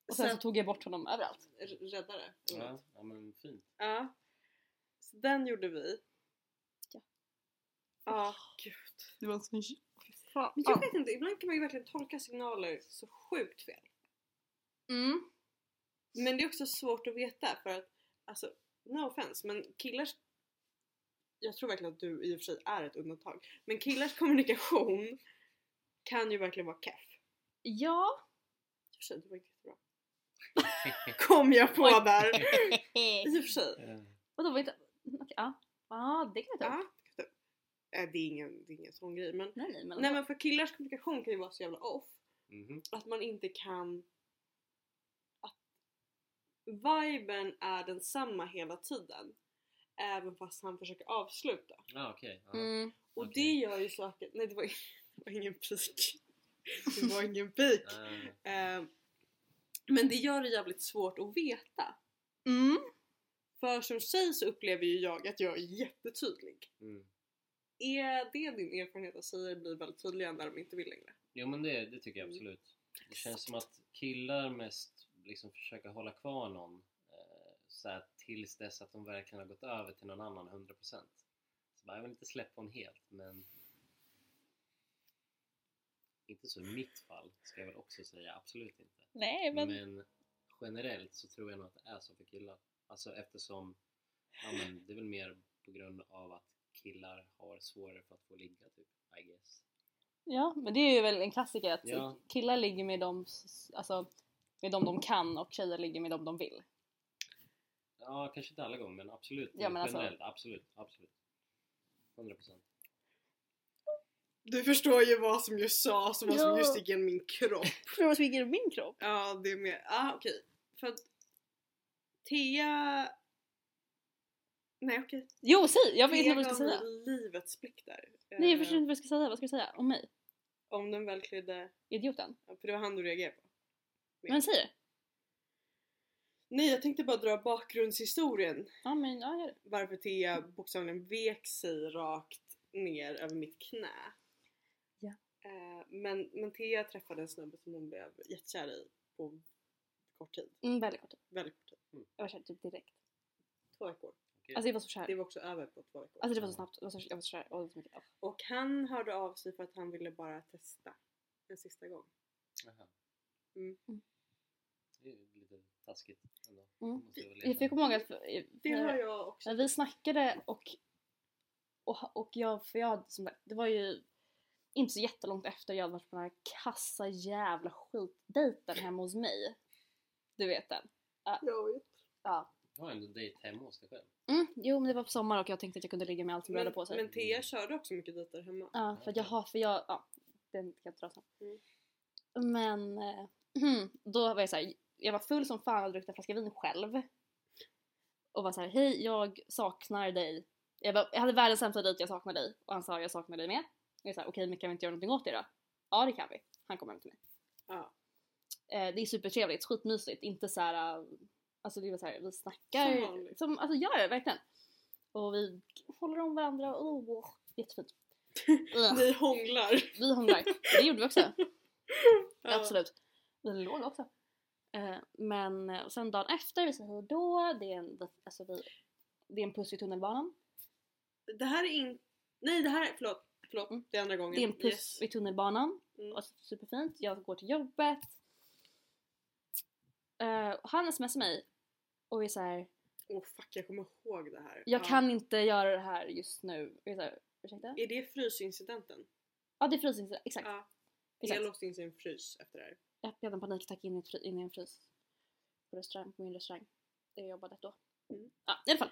Och sen så så tog jag bort honom överallt. r- räddare. eller Ja, något. ja men fint. ja. Så den gjorde vi. Ja. Ja, gud. Det var en sån... Men jag vet inte, ibland kan man ju verkligen tolka signaler så sjukt fel. Mm. Men det är också svårt att veta för att, alltså no offense men killars jag tror verkligen att du i och för sig är ett undantag. Men killars kommunikation kan ju verkligen vara keff. Ja. I och för sig, det var inte jättebra. Kom jag på Oj. där! I och för sig. Vadå var inte... Okej, ja. Ja, det kan vi ta upp. Ja, typ. Eh, det, är ingen, det är ingen sån grej men... Nej, nej, men... Nej men för killars kommunikation kan ju vara så jävla off Mhm. att man inte kan... Att viben är densamma hela tiden. Även fast han försöker avsluta. Ja okej. ja. Mm. Och Okej. det gör ju saker... Nej det var, det var ingen pik. Det var ingen pik. Eh, Eh, men det gör det jävligt svårt att veta. Mm. För som tjej så upplever ju jag att jag är jättetydlig. mm. Är det din erfarenhet att tjejer blir väldigt tydliga när de inte vill längre? Jo men det, det tycker jag Mm. absolut. Det känns som att killar mest liksom försöker hålla kvar någon eh, så här, tills dess att de verkligen har gått över till någon annan 100%. Så bara, jag vill inte släppa hon helt men inte så i mitt fall ska jag väl också säga, absolut inte. Nej men... Men generellt så tror jag nog att det är så för killar. Alltså eftersom, ja men det är väl mer på grund av att killar har svårare för att få ligga typ, I guess. Ja, men det är ju väl en klassiker att Ja. killar ligger med dem, s- alltså, med dem de kan och tjejer ligger med dem de vill. Ja, kanske inte alla gånger men absolut. Ja, men alltså- generellt, absolut, absolut. 100 procent. Du förstår ju vad som just sades och vad som Ja. just gick genom min kropp. För vad som ligger i min kropp? Ja, det är mer... Ja, ah, okej. För att... Thea... Nej okej. Jo, säg! Jag vet inte vad Thea du ska gav säga. mig livets blick där. Nej, Eh, jag förstår inte vad du ska säga. Vad ska du säga? Om mig? Om den välklädde... Idioten? ja, För det var han du reagerade på. Men säg det! Nej, jag tänkte bara dra bakgrundshistorien. Ja, men ja, gör det. Varför Thea bokstavligen vek sig rakt ner över mitt knä. Ja. Eh, men, men Thea träffade en snubbe som hon blev jättekär i på kort tid. Mm, väldigt kort. Väldigt kort tid. Mm. Jag var kär typ direkt. Två veckor. Alltså jag var så kär. Det var också över på två veckor. Alltså det var så snabbt. Jag var så, jag var så kär. Och det var så mycket. ja. Och han hörde av sig för att han ville bara testa en sista gång. Jaha. Mm. Mm. Det är ju lite taskigt ändå. Mm. Måste jag väl Jag fick erkänna. komma ihåg att Det har när, jag också. när vi snackade och, och, och jag, för jag hade som sagt, det var ju inte så jättelångt efter jag hade varit på den här kassa jävla skitdejten hemma hos mig. Du vet den. Jag vet. Ja. Jag har ändå dejt hemma hos dig själv. Mm, jo men det var på sommar och jag tänkte att jag kunde ligga med allt som rörde Men, på sig. men Thea körde också mycket dejter hemma. Ja, för att jag har, för jag, ja, den kan jag dra sen. Mm. Men, eh, då var jag såhär, jag var full som fan och druckit en flaska vin själv. Och var såhär, hej jag saknar dig. Jag, bara, jag hade världens sämsta dejt, jag saknar dig. Och han sa, jag saknar dig med. Och jag sa, okej men kan vi inte göra någonting åt det då? Ja det kan vi. Han kom hem till mig. Ja. Eh, det är supertrevligt, skitmysigt, inte såhär, eh, alltså det var såhär, vi snackar. Som vanligt. som, alltså ja, ja verkligen. Och vi håller om varandra, oh, jättefint. Ugh. Ni hånglar. Vi hånglar. Det gjorde vi också. Ja. Absolut. Vi låg också. Eh, Men eh, och sen dagen efter, vi säger hej då. Det är en, alltså vi, det är en puss i tunnelbanan. Det här är inte... Nej det här är... Förlåt. Förlåt. Mm. Det är andra gången. Det är en puss Yes. i tunnelbanan. Mm. Och superfint. Jag går till jobbet. Eh, och han smsar mig och är såhär, Åh fuck jag kommer ihåg det här. jag Ja. kan inte göra det här just nu. Och jag är såhär, ursäkta? Är det frysincidenten? Ja det är frysning, exakt. Ja. exakt. Jag låste in sig i en frys efter det här. Jag hade en panikattack in i, ett fry- in i en frys. På restaurang, på min restaurang. Där jag jobbade då. Mm. Ja, i alla fall.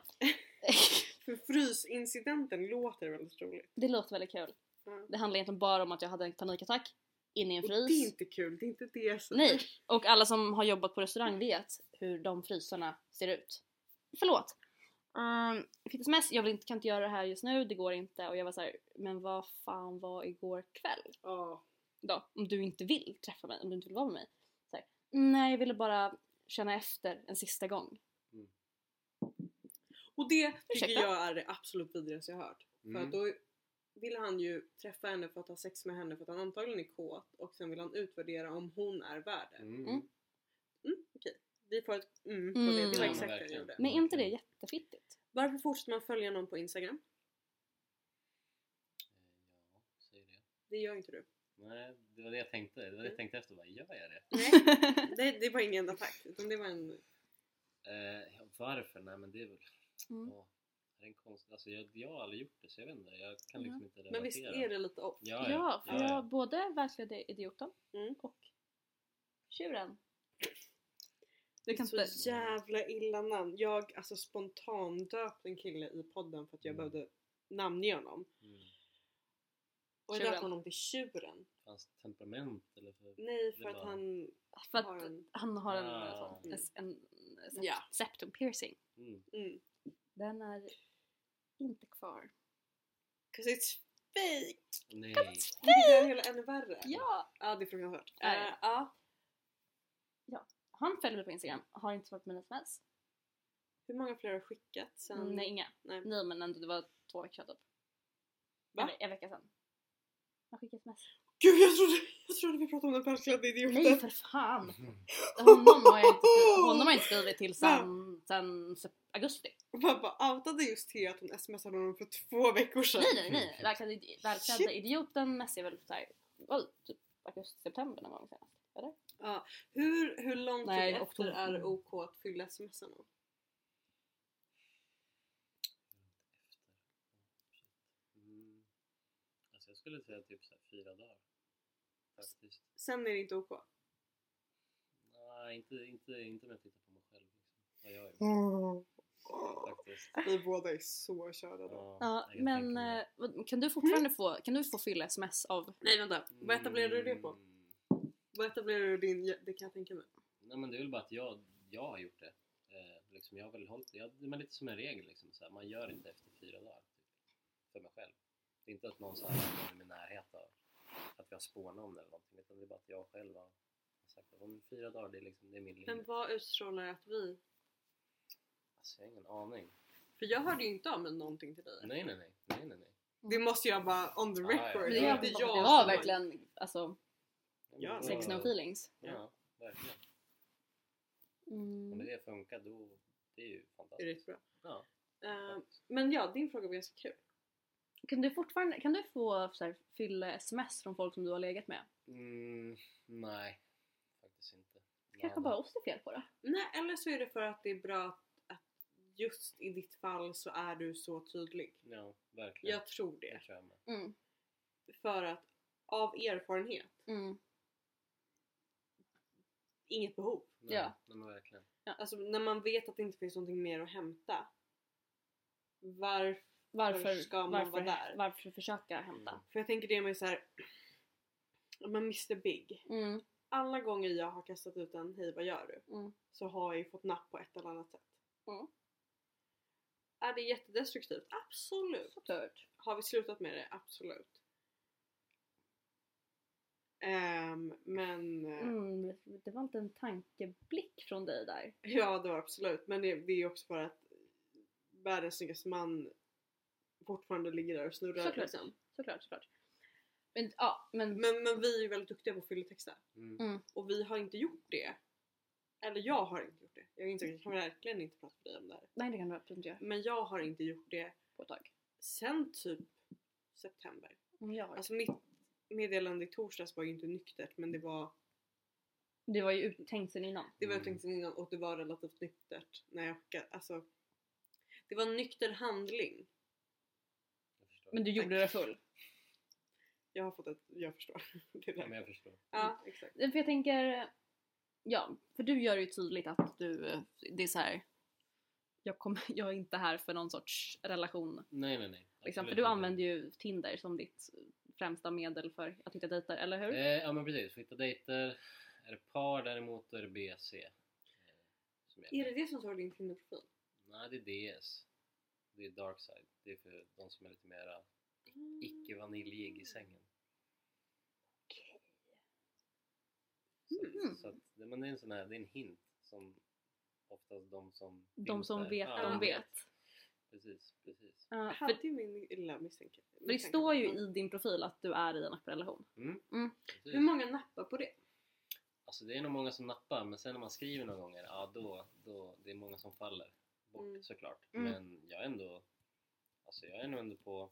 För frysincidenten låter väldigt roligt. det låter väldigt kul. Ja. Det handlar egentligen bara om att jag hade en panikattack in i Mm. en Och det är frys. inte kul. Det är inte det jag säger. Nej! Och alla som har jobbat på restaurang vet hur de frysarna ser ut. Förlåt! Um, jag fick sms, jag vill inte, kan inte göra det här just nu, det går inte. Och jag var så här, men vad fan var igår kväll? Ja. då, om du inte vill träffa mig, om du inte vill vara med mig. Så här, Nej, jag ville bara känna efter en sista gång. Och Och det tycker Ursäkta? jag är det absolut vidrigaste jag har hört. För Mm. att då vill han ju träffa henne för att ha sex med henne för att han antagligen är kåt och sen vill han utvärdera om hon är värd det. Mm. Mm. Mm, okej. Vi får ett mm på Mm. det. Det var Ja, exakt det jag verkligen. gjorde. Men är inte det jättefittigt? Varför fortsätter man följa någon på Instagram? Ja, säg det. Det gör inte du. Nej, det var det jag tänkte. Det var det jag tänkte efter. Bara, gör jag det? Nej, det, det var ingen attack. Utan det var en... Eh, ja, varför? Nej men det är väl... Mm. Ja, det är en konst... alltså, jag, jag har aldrig gjort det så jag vet inte. Jag kan Ja. liksom inte relatera. Men visst är det lite off? Ja, Ja, för ja, jag både verkliga idioten Mm. och tjuren. Du kan så inte... jävla illa namn. Jag alltså spontandöpte en kille i podden för att jag Mm. behövde namnge honom. Mm. Och jag Tjuren. döpte honom till Tjuren. Hans temperament eller för... Nej, Det för att var- han För har att en... han har en, Ah. en, en sept, Ja. septum piercing. Mm. Mm. Den är inte kvar. Cause it's fake! Nej. Vilket gör det hela ännu värre. Ja! Ja, det är fruktansvärt. Ja, ja. Eh, ja. Han följer mig på Instagram. Har inte varit med mig sen dess. Hur många fler har skickat sen? Nej, inga. Nej. Nej men ändå, det var två veckor sedan typ. Va? En, ve- en vecka sedan. Jag skickade sms. Gud jag trodde, jag trodde vi pratade om den verkliga idioten. Nej för fan! Honom har jag inte, skri- honom har jag inte skrivit till sen, sen sep- augusti. Pappa outade just till att hon smsade honom för två veckor sedan. Nej nej nej! Välklädda, idi- välklädda Shit. idioten messade väl såhär, well, typ augusti-september någon gång senast. Hur, hur lång tid Nej, efter oktober. är det OK att fylla smsarna? Mm. Alltså jag skulle säga typ så här fyra dagar. Faktiskt. Sen är det inte OK. Nej, inte, inte, inte om jag tittar på mig själv. Liksom. Vad jag gör Mm. faktiskt. Vi båda är så körda då. Ja jag kan men tänka mig. eh, vad- kan du fortfarande få, kan du få fylla sms av... Nej vänta, vad etablerade du det på? Mm. Vad etablerade du din... Det kan jag tänka mig. Nej men det är väl bara att jag, jag har gjort det. Eh, liksom jag har väl hållit jag, det. är lite som en regel liksom. Så här, man gör inte efter fyra dagar. Typ, för mig själv. Det är inte att någon så här, någon i min närhet har, att jag har spånat om det eller någonting. Utan det är bara att jag själv har sagt att om fyra dagar, det är, liksom, det är min linje. Men vad utstrålar att vi... Alltså jag har ingen aning. För jag hörde ju inte av mig någonting till dig. Nej nej nej. nej, nej, nej. Det måste jag bara on the Ja, ja. record. Det är inte jag jag har som- verkligen alltså, Ja, Men sex då- no feelings. Ja, verkligen. Om Mm. det funkar då, det är ju Det är fantastiskt. rätt bra. Ja. Eh, men ja, din fråga var ganska kul. Kan du fortfarande, kan du få så här, fylla sms från folk som du har legat med? Mm, nej, faktiskt inte. Kanske Men- bara oss det är fel på då? Nej, eller så är det för att det är bra att, att just i ditt fall så är du så tydlig. Ja, verkligen. Jag tror Det det. tror jag med. Mm. För att av erfarenhet, Mm. inget behov. Nej, Ja. nej, men verkligen. Alltså när man vet att det inte finns någonting mer att hämta. Varför? Varför, ska man varför, vara där? varför försöka hämta? Mm. För jag tänker det med så här. Men Mr Big. Mm. Alla gånger jag har kastat ut en hej vad gör du? Mm. Så har jag ju fått napp på ett eller annat sätt. Mm. Är det jättedestruktivt? Absolut. Såklart. Har vi slutat med det? Absolut. Ehm, men eh, Mm, det var inte en tankeblick från dig där. ja det var absolut. Men det, det är ju också för att världens snyggaste man fortfarande ligger där och snurrar. Såklart. liksom. Såklart, såklart. Men, ja, men, Men, men vi är ju väldigt duktiga på att fylletexta. Mm. Och vi har inte gjort det. Eller jag har inte gjort det. Jag inser att jag kan verkligen inte prata med dig om det här. nej det kan du absolut inte göra Men jag har inte gjort det på ett tag. sen typ september. Mm, Jag har. Alltså mitt meddelande i torsdags var ju inte nyktert men det var det var ju ut- tänkt sen innan. Det var Mm. tänkt sen innan och det var relativt nyktert när jag skickade. Alltså, det var en nykter handling. Jag förstår. Men du gjorde det full. Jag har fått ett, jag förstår. Det Ja, men där. jag förstår. Mm. Ja, exakt. För jag tänker, ja, för du gör ju tydligt att du, eh, det är så här. Jag, kom, jag är inte här för någon sorts relation. Nej, nej, nej. Liksom, för Absolut du inte. använder ju Tinder som ditt främsta medel för att hitta dejter, eller hur? Eh, ja, men precis. Hitta dejter. Är det par däremot då är det BC. Eh, som Är gäller. det det som står i din Tinderprofil? Nej, det är DS. Det är Darkside. Det är för de som är lite mera Mm. icke-vaniljig i sängen. Mm. Mm. Så, så att, det- men det är en sån här, det är en hint som oftast de som De finns som där- vet, ja, de de vet. precis, precis. Ja, Mm. Jag för, hade ju min lilla misstänke. för det misstanke. står ju i din profil att du är i en öppen relation. Mm. Hur Mm. precis. många nappar på det? Alltså det är nog många som nappar men sen när man skriver några gånger, ja då, då det är många som faller bort Mm. såklart. Mm. Men jag är ändå, alltså jag är nog ändå på,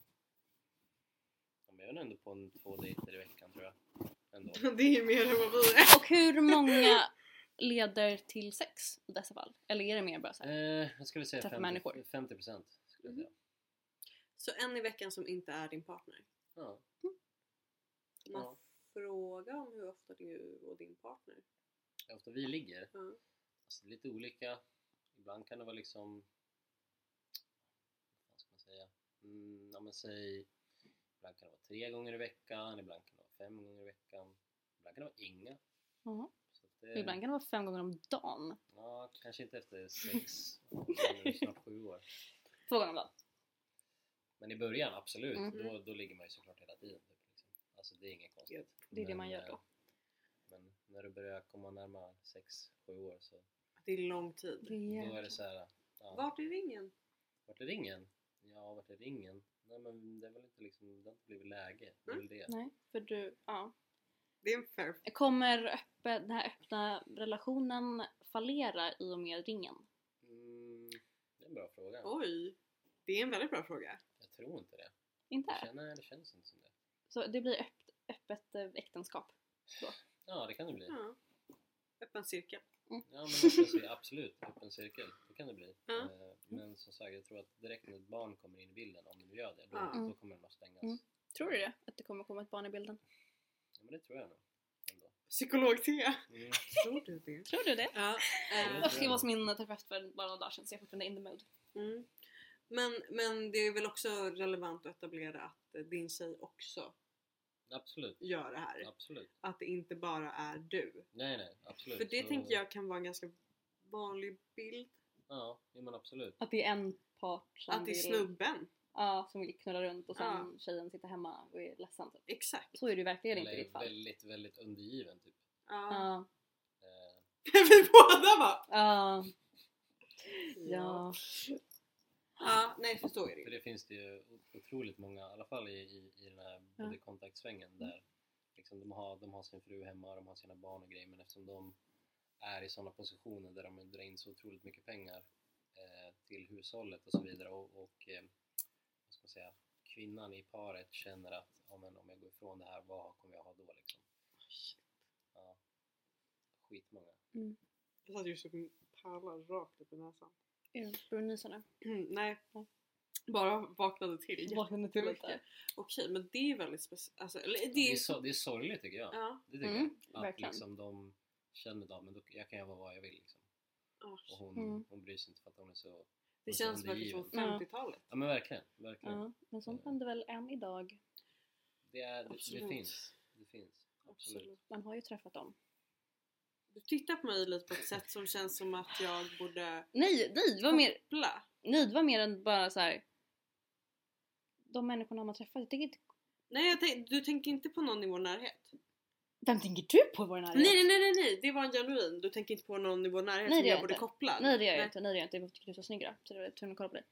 ja, men jag är nog ändå på en, två dejter i veckan tror jag. Ändå. Det är ju mer än vad vi är. Och hur många leder till sex i dessa fall? Eller är det mer bara så här? Eh, vad ska vi säga? Träffa 50, människor. 50 procent skulle jag Mhm. säga. Så en i veckan som inte är din partner. Ja. Får Man Ja. fråga om hur ofta du och din partner. Hur ofta vi ligger? Ja. Alltså, det är lite olika. Ibland kan det vara liksom... Vad ska man säga? Mm, ja, men säg, ibland kan det vara tre gånger i veckan, ibland kan det vara fem gånger i veckan. Ibland kan det vara inga. Ja. Så att det, Och Ibland kan det vara fem gånger om dagen. Ja, kanske inte efter sex, eller snart sju år. Två gånger om dagen. Men i början, absolut. Mm. Då, då ligger man ju såklart hela tiden. Typ, liksom. Alltså det är inget konstigt. det är det Men, man gör då. eh, Men när du börjar komma närmare sex, sju år så Det är lång tid. då är det så här. Ja. Vart är ringen? Vart är ringen? Ja, vart är ringen? Nej men det är väl inte liksom, det har inte blivit läge. Det är väl det. Nej, för du, ja. Det är en fair Kommer öppe, den här öppna relationen fallera i och med ringen? Mm, det är en bra fråga. Oj! Det är en väldigt bra fråga. Jag tror inte det. Inte? Det, känner, det känns inte som det. Så det blir öpp, öppet eh, äktenskap? Ja, det kan det bli. Ja, Ja. Öppen cirkel. men öppen cirkel, absolut. Öppen cirkel. Det kan det bli. Ja. Eh, Men som sagt, jag tror att direkt när ett barn kommer in i bilden, om det nu gör det, då, Ja. då kommer den att stängas. Mm. Tror du det? Att det kommer komma ett barn i bilden? Ja, men det tror jag nog. Ändå. Psykolog-Thea. Mm. Tror du det? Tror du det? Ja. Mm. eh, Jag var hos min terapeut för bara några dagar sedan så jag är fortfarande in the mood. Mm. Men, men det är väl också relevant att etablera att eh, din tjej också Absolut. gör det här. Absolut. Att det inte bara är du. Nej, nej. Absolut. För det Så- tänker jag kan vara en ganska vanlig bild. Ja, jo, men absolut. Att det är en part som att det är vill- snubben. Ja, som vill knulla runt och sen Ja. tjejen sitter hemma och är ledsen. Typ. Exakt. Så är det ju verkligen Eller inte i ditt fall. väldigt, väldigt undergiven typ. Ja. Ja, Eh, Vi båda bara... ja, ja. Ja, nej förstår jag För det. det finns det ju otroligt många, i alla fall i, i, i den här Ja. både kontaktsvängen där liksom de, har, de har sin fru hemma, de har sina barn och grejer men eftersom de är i sådana positioner där de drar in så otroligt mycket pengar eh, till hushållet och så vidare och, och eh, vad ska man säga, kvinnan i paret känner att ja, men om jag går ifrån det här, vad kommer jag ha då liksom? Ja. Skitmånga. Mm. Jag satt just och pärlade rakt upp i näsan. Står du och nyser nu? Mm, nej. Nej. Bara vaknade till. Vaknade till lite. Okej, men det är väldigt speciellt. Alltså, eller Det är, det är... så, det är sorgligt tycker jag. Ja. Det tycker Mm, jag. Att verkligen. liksom de känner att men då, jag kan göra vad jag vill liksom. Ja. Och hon, Mm. hon bryr sig inte för att hon är så... Det Och känns sen verkligen livet. som 50-talet. Ja men verkligen, verkligen. Ja, men sånt händer väl än idag. Det, är, det, det Absolut. finns. Det finns. Absolut. Man har ju träffat dem. Du tittar på mig lite på ett sätt som känns som att jag borde Nej, nej, det var mer, bla. nej, det var mer än bara så här. De människorna man träffat. Jag tänker inte... Nej, jag tänk, du tänker inte på någon i vår närhet? Vem tänker du på i vår närhet? Nej, nej, nej, nej, nej, det var en genuin. Du tänker inte på någon i vår närhet som Nej, det jag gör jag borde inte. koppla? Nej det gör jag inte, nej det gör jag inte. Jag tycker du är så snygg då, så det var tvungen att kolla på dig.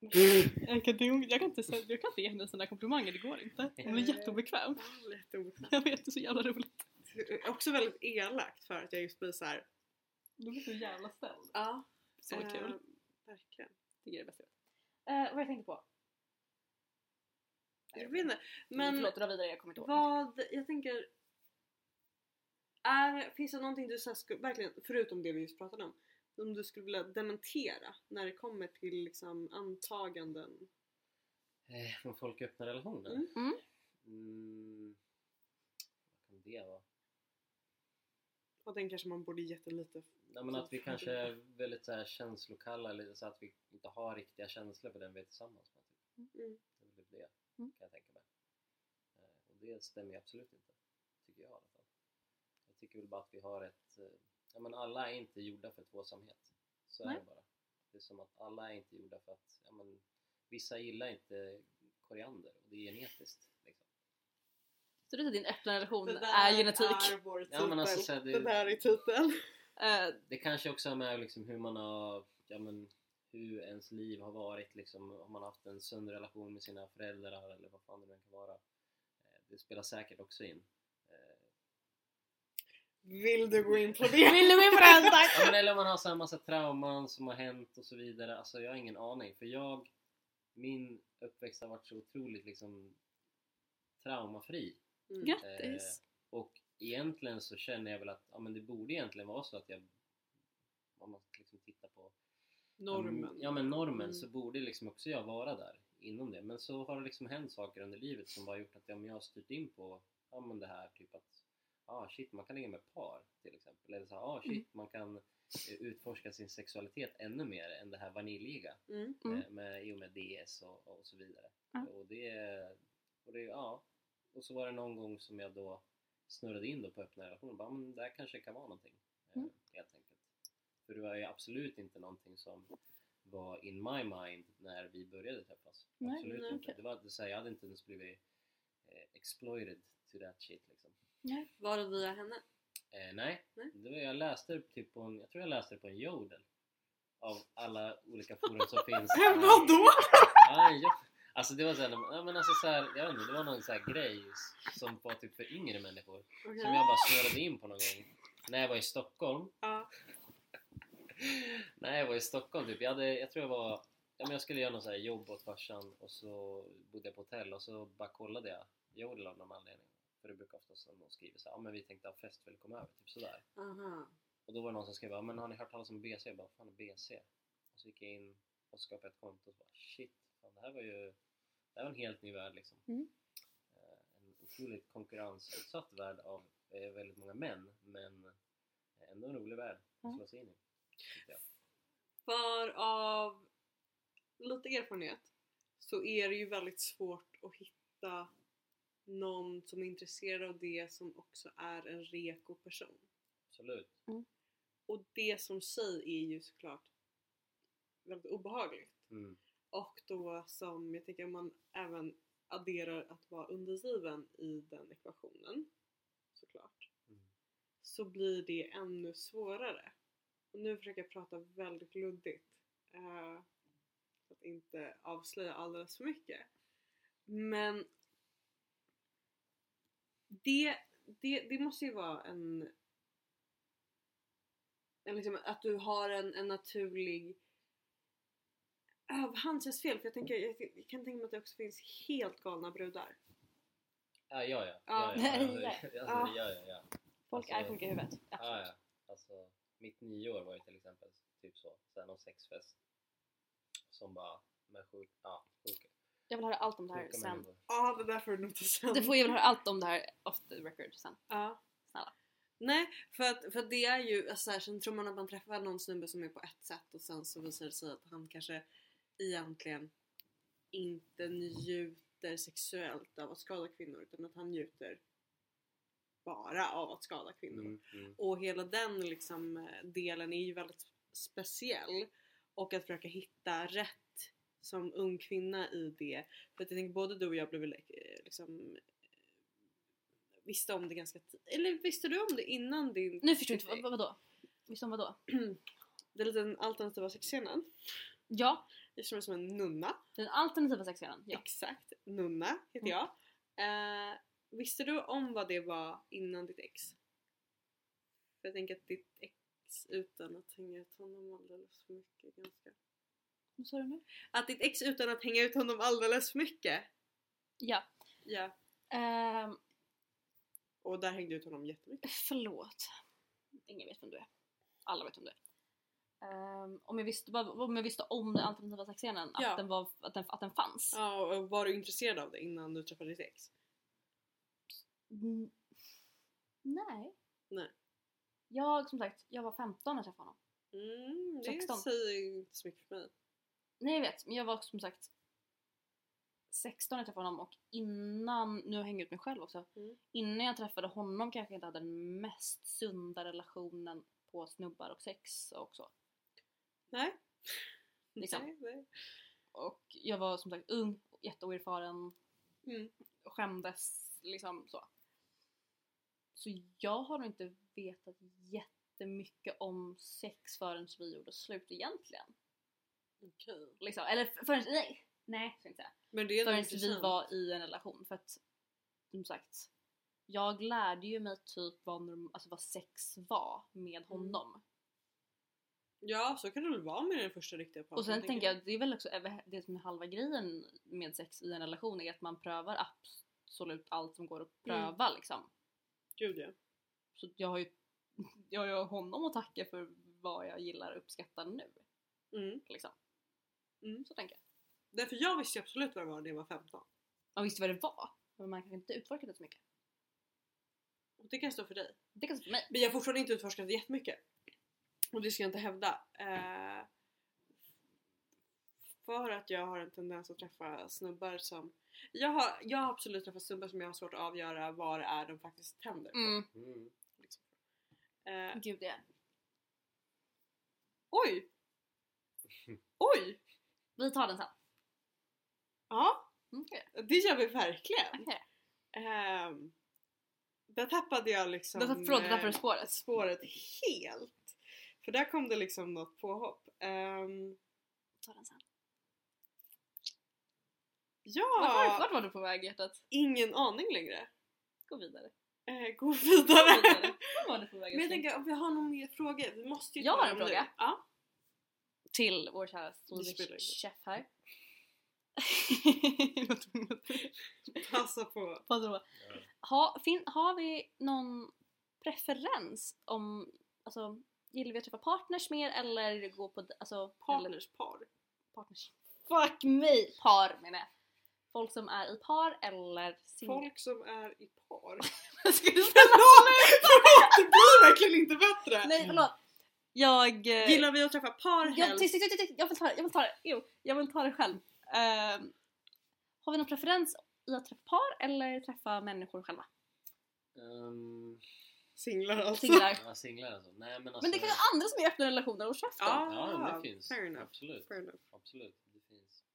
Mm. Jag kan, inte- jag, kan inte, säga- jag kan inte ge henne sådana komplimanger, det går inte. Hon är jätteobekväm. Ja, lite obekvämt. Jag vet, det är så jävla roligt. Också väldigt elakt för att jag just blir såhär... Du blir så jävla ställd. Ja, Så eh, kul. Verkligen. Tycker det är bäst jag vet. Eh, vad jag tänkte på? Jag vet inte. Men Mm, Förlåt, dra vidare, jag kommer inte ihåg. vad, jag tänker... Är, finns det någonting du så här skulle, verkligen, förutom det vi just pratade om, som du skulle vilja dementera när det kommer till liksom antaganden? Eh, om folk öppnar relationer? Mm. Mm. Mm. Vad kan det vara? Och den kanske man borde gett en lite... Nej, men Så att vi fan. kanske är väldigt så här, känslokalla, lite så att vi inte har riktiga känslor för den vi är tillsammans med. Typ. Mm. Det är väl det, Mm. kan jag tänka mig. Eh, och det stämmer ju absolut inte, tycker jag i alla fall. Jag tycker väl bara att vi har ett... Eh, ja, men alla är inte gjorda för tvåsamhet. Så Nej. är det bara. Det är som att alla är inte gjorda för att... Ja, men, vissa gillar inte koriander och det är genetiskt. Liksom. Så det är din öppna relation är genetik. är vår titel. Ja, men alltså, så här, det- det... där är titeln. Eh, Det kanske också har med liksom hur man har... Ja, men, hur ens liv har varit, liksom, om man har haft en sund relation med sina föräldrar eller vad fan det nu än kan vara. Eh, Det spelar säkert också in. Eh, Vill du gå in på det? Vill du min förälder? Ja, men eller om man har så här massa trauman som har hänt och så vidare. Alltså jag har ingen aning. För jag, min uppväxt har varit så otroligt liksom traumafri. Mm. Grattis! Eh, och egentligen så känner jag väl att ja, men det borde egentligen vara så att jag om man liksom tittar på Normen. Ja men normen Mm. så borde liksom också jag vara där inom det. Men så har det liksom hänt saker under livet som bara gjort att ja, men jag har styrt in på ja, men det här typ att ah, shit man kan ligga med par till exempel. Eller så här, ah, shit Mm. man kan eh, utforska sin sexualitet ännu mer än det här vaniljiga Mm. Mm. eh, med, i och med DS och, och så vidare. Ja. Och, det, och det, ja. Och så var det någon gång som jag då snurrade in då på öppna relationer. Bara, men det här kanske kan vara någonting. eh, Mm. Helt enkelt. För det var ju absolut inte någonting som var in my mind när vi började träffas. Nej, absolut nej, inte. okej. Det var, det, så här, jag hade inte ens blivit eh, exploited to that shit liksom. Var det via henne? Eh, nej, Nej. Det var, jag läste det typ på en, jag tror jag läste det på en jodel. Av alla olika forum som finns. Vadå? Ja, ja. Alltså det var såhär, ja, men alltså såhär, jag vet inte, det var någon sån här grej som var typ för yngre människor som jag bara snurrade in på någon gång när jag var i Stockholm. Ja. När jag var i Stockholm typ, jag, hade, jag tror jag var, ja, men jag skulle göra något så här jobb åt farsan och så bodde jag på hotell och så bara kollade jag jodel av någon anledning. För det brukar oftast någon skriver såhär, ja men vi tänkte ha fest, vill du komma över? Typ sådär. Aha. Och då var det någon som skrev bara, men har ni hört talas om BC? Jag bara, fan är BC? Och så gick jag in och skapade ett konto och så bara, shit, fan, det här var ju det här var en helt ny värld liksom. Mm. Eh, En otroligt konkurrensutsatt värld av eh, väldigt många män, men eh, ändå en rolig värld att Ja. slå sig in i. tyckte jag. För av lite erfarenhet så är det ju väldigt svårt att hitta någon som är intresserad av det som också är en reko person. Absolut. Och det som sig är ju såklart väldigt obehagligt. Mm. Och då som jag tänker om man även adderar att vara undergiven i den ekvationen såklart Mm. så blir det ännu svårare. Och nu försöker jag prata väldigt luddigt eh, för att inte avslöja alldeles för mycket. Men det, det, det måste ju vara en, en liksom, att du har en, en naturlig överhandsrättsfel för jag, tänker, jag, jag kan tänka mig att det också finns helt galna brudar. Ja, Ah, ja, ja. Ja. ja, ja, ja. Ja. Alltså, ja, ja, ja. Folk är sjuka i huvudet. alltså- Ja, Absolut. ja. Alltså, mitt nyår var ju till exempel typ så, sen någon sexfest som bara, med sjuk, ja, sjuka, Jag vill höra allt om det här sjuka sen. människor. Ja, det där får du nog ta sen. Du får jag vill höra allt om det här off the record sen. Ja. Snälla. Nej, för att, för att det är ju alltså, så här, sen tror man att man träffar någon snubbe som är på ett sätt och sen så visar det sig att han kanske egentligen inte njuter sexuellt av att skada kvinnor utan att han njuter bara av att skada kvinnor. Mm, mm. Och hela den liksom, eh, delen är ju väldigt speciell. Och att försöka hitta rätt som ung kvinna i det. För att jag tänker både du och jag blev väl, eh, liksom eh, visste om det ganska tidigt. Eller visste du om det innan din... Nu förstår jag inte, vad, vad- vadå? Visst om vadå? Den liten alternativa sexscenen. Ja, Jag känner mig som en nunna. den alternativa sexscenen. Ja. Exakt. Nunna heter jag. Eh, visste du om vad det var innan ditt ex? För jag tänker att ditt ex, utan att hänga ut honom alldeles för mycket ganska... Vad sa du nu? Att ditt ex utan att hänga ut honom alldeles för mycket. Ja. Ja. Ehm, Och där hängde du ut honom jättemycket. förlåt. Ingen vet vem du är. Alla vet vem du är. Ehm, om, jag visste, vad- om jag visste om den alternativa sexscenen, Ja. att, den var, att, den, att den fanns. Ja, och var du intresserad av det innan du träffade ditt ex? Mm. Nej. Nej. Jag, som sagt, jag var 15 när jag träffade honom. Mm, det 16. säger inte så mycket för mig. Nej jag vet, men jag var som sagt 16 när jag träffade honom och innan, nu hänger jag ut mig själv också, Mm. innan jag träffade honom kanske jag inte hade den mest sunda relationen på snubbar och sex och så. Nej. Liksom. Nej, nej. Och jag var som sagt ung, jätteoerfaren, Mm. och skämdes liksom så. Så jag har nog inte vetat jättemycket om sex förrän vi gjorde slut egentligen. Okej. Liksom. Eller f- förrän, nej, nej ska jag inte säga. Men det är ändå Förrän vi intressant. var i en relation. För att som sagt, jag lärde ju mig typ vad, norm- alltså vad sex var Mm. med honom. Ja, så kan det väl vara med den första riktiga partnern. Och sen tänker jag, det är väl också över- det som är halva grejen med sex i en relation är att man prövar absolut allt som Mm. går att pröva liksom. Gud ja. Så jag har ju jag har ju honom att tacka för vad jag gillar och uppskattar nu. Mm. Liksom. Mm. Så tänker jag. Därför jag visste ju absolut vad det var när jag var 15. Man visste vad det var, men man kanske inte utforskat det så mycket. Och det kan stå för dig. Det kan stå för mig. Men jag har fortfarande inte utforskat det jättemycket. Och det ska jag inte hävda. Eh, för att jag har en tendens att träffa snubbar som... Jag har, jag har absolut träffat snubbar som jag har svårt att avgöra vad det är de faktiskt tänder på. Mm. Mm. Liksom. Eh, Gud det. oj! Oj! Vi tar den sen. Ja, Mm, okej. det gör vi verkligen. Okej. Ehm, där tappade jag liksom... Där tapp- Förlåt, där tappade du eh, spåret. spåret helt. För där kom det liksom något påhopp. Ehm, Ta den sen. Vart, var- ja, vart var du på väg hjärtat? ingen aning längre. Gå vidare. Eh, gå Gå vidare. vidare. Vart var du på Men jag väg älskling? tänker om vi har någon mer fråga? Vi måste ju Jag ta har en dem nu. fråga. Ja. till vår kära spelar ingen roll. Swedish chef här. Vad tvungen att- Passa på. Passa på. Ja. Ha, fin, har vi någon preferens om, alltså gillar vi att träffa partners mer eller gå på, d- alltså eller, Partners par. partners? Fuck mig! Par menar jag. Folk som är i par eller singlar. Folk som är i par. Jag skulle säga- Förlåt! Det blir verkligen inte bättre! Nej förlåt! Jag... eh, Mm. Gillar vi att träffa par jag, helst? tyst, tyst, tyst, tyst, jag vill ta det, jag vill ta det, jo, jag vill ta det själv. Ehm, har vi någon preferens i att träffa par eller träffa människor själva? Ehm, Singlar alltså. Singlar. ja, singlar alltså. Nej men alltså. Men det kan vara andra som är i öppna relationer och käften. Ja. Ja men Ah, det finns. fair enough. Absolut. Fair enough. Absolut, det finns. Ehm,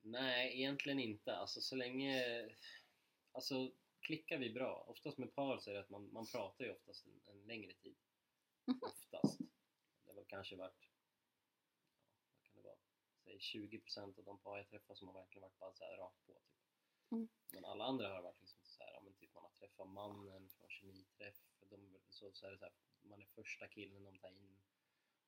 Nej, egentligen inte. Alltså så länge... Alltså klickar vi bra. Oftast med par så är det att man, man pratar ju oftast en, en längre tid. Mhm. Oftast. Det har väl kanske varit... Ja, vad kan det vara? Säg 20% av de par jag träffar som har verkligen varit bara så här rakt på. Typ. Mm. Men alla andra har varit liksom så här, ja, men typ man har träffat mannen från kemiträff. och De, så, så är det så här, man är första killen de tar in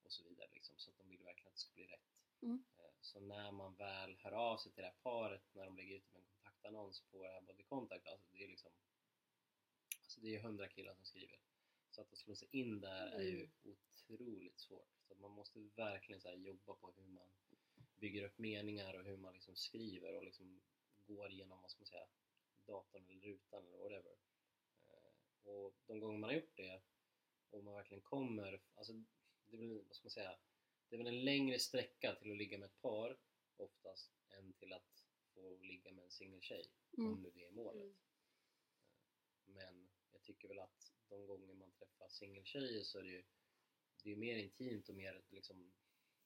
och så vidare. Liksom, så att de vill verkligen att det ska bli rätt. Mm. Eh, Så när man väl hör av sig till det här paret, när de lägger ut en kontaktannons på det här Body Contact, alltså det är liksom alltså det är hundra killar som skriver. Så att slå sig in där är ju otroligt svårt. Så att man måste verkligen så här jobba på hur man bygger upp meningar och hur man liksom skriver och liksom går igenom, vad ska man säga, datorn eller rutan eller whatever. Eh, Och de gånger man har gjort det och man verkligen kommer, alltså det är väl, vad ska man säga, det är väl en längre sträcka till att ligga med ett par oftast än till att få ligga med en singeltjej Mm. om nu det är målet. Eh, Mm. Men jag tycker väl att de gånger man träffar singeltjejer så är det ju det är mer intimt och mer liksom,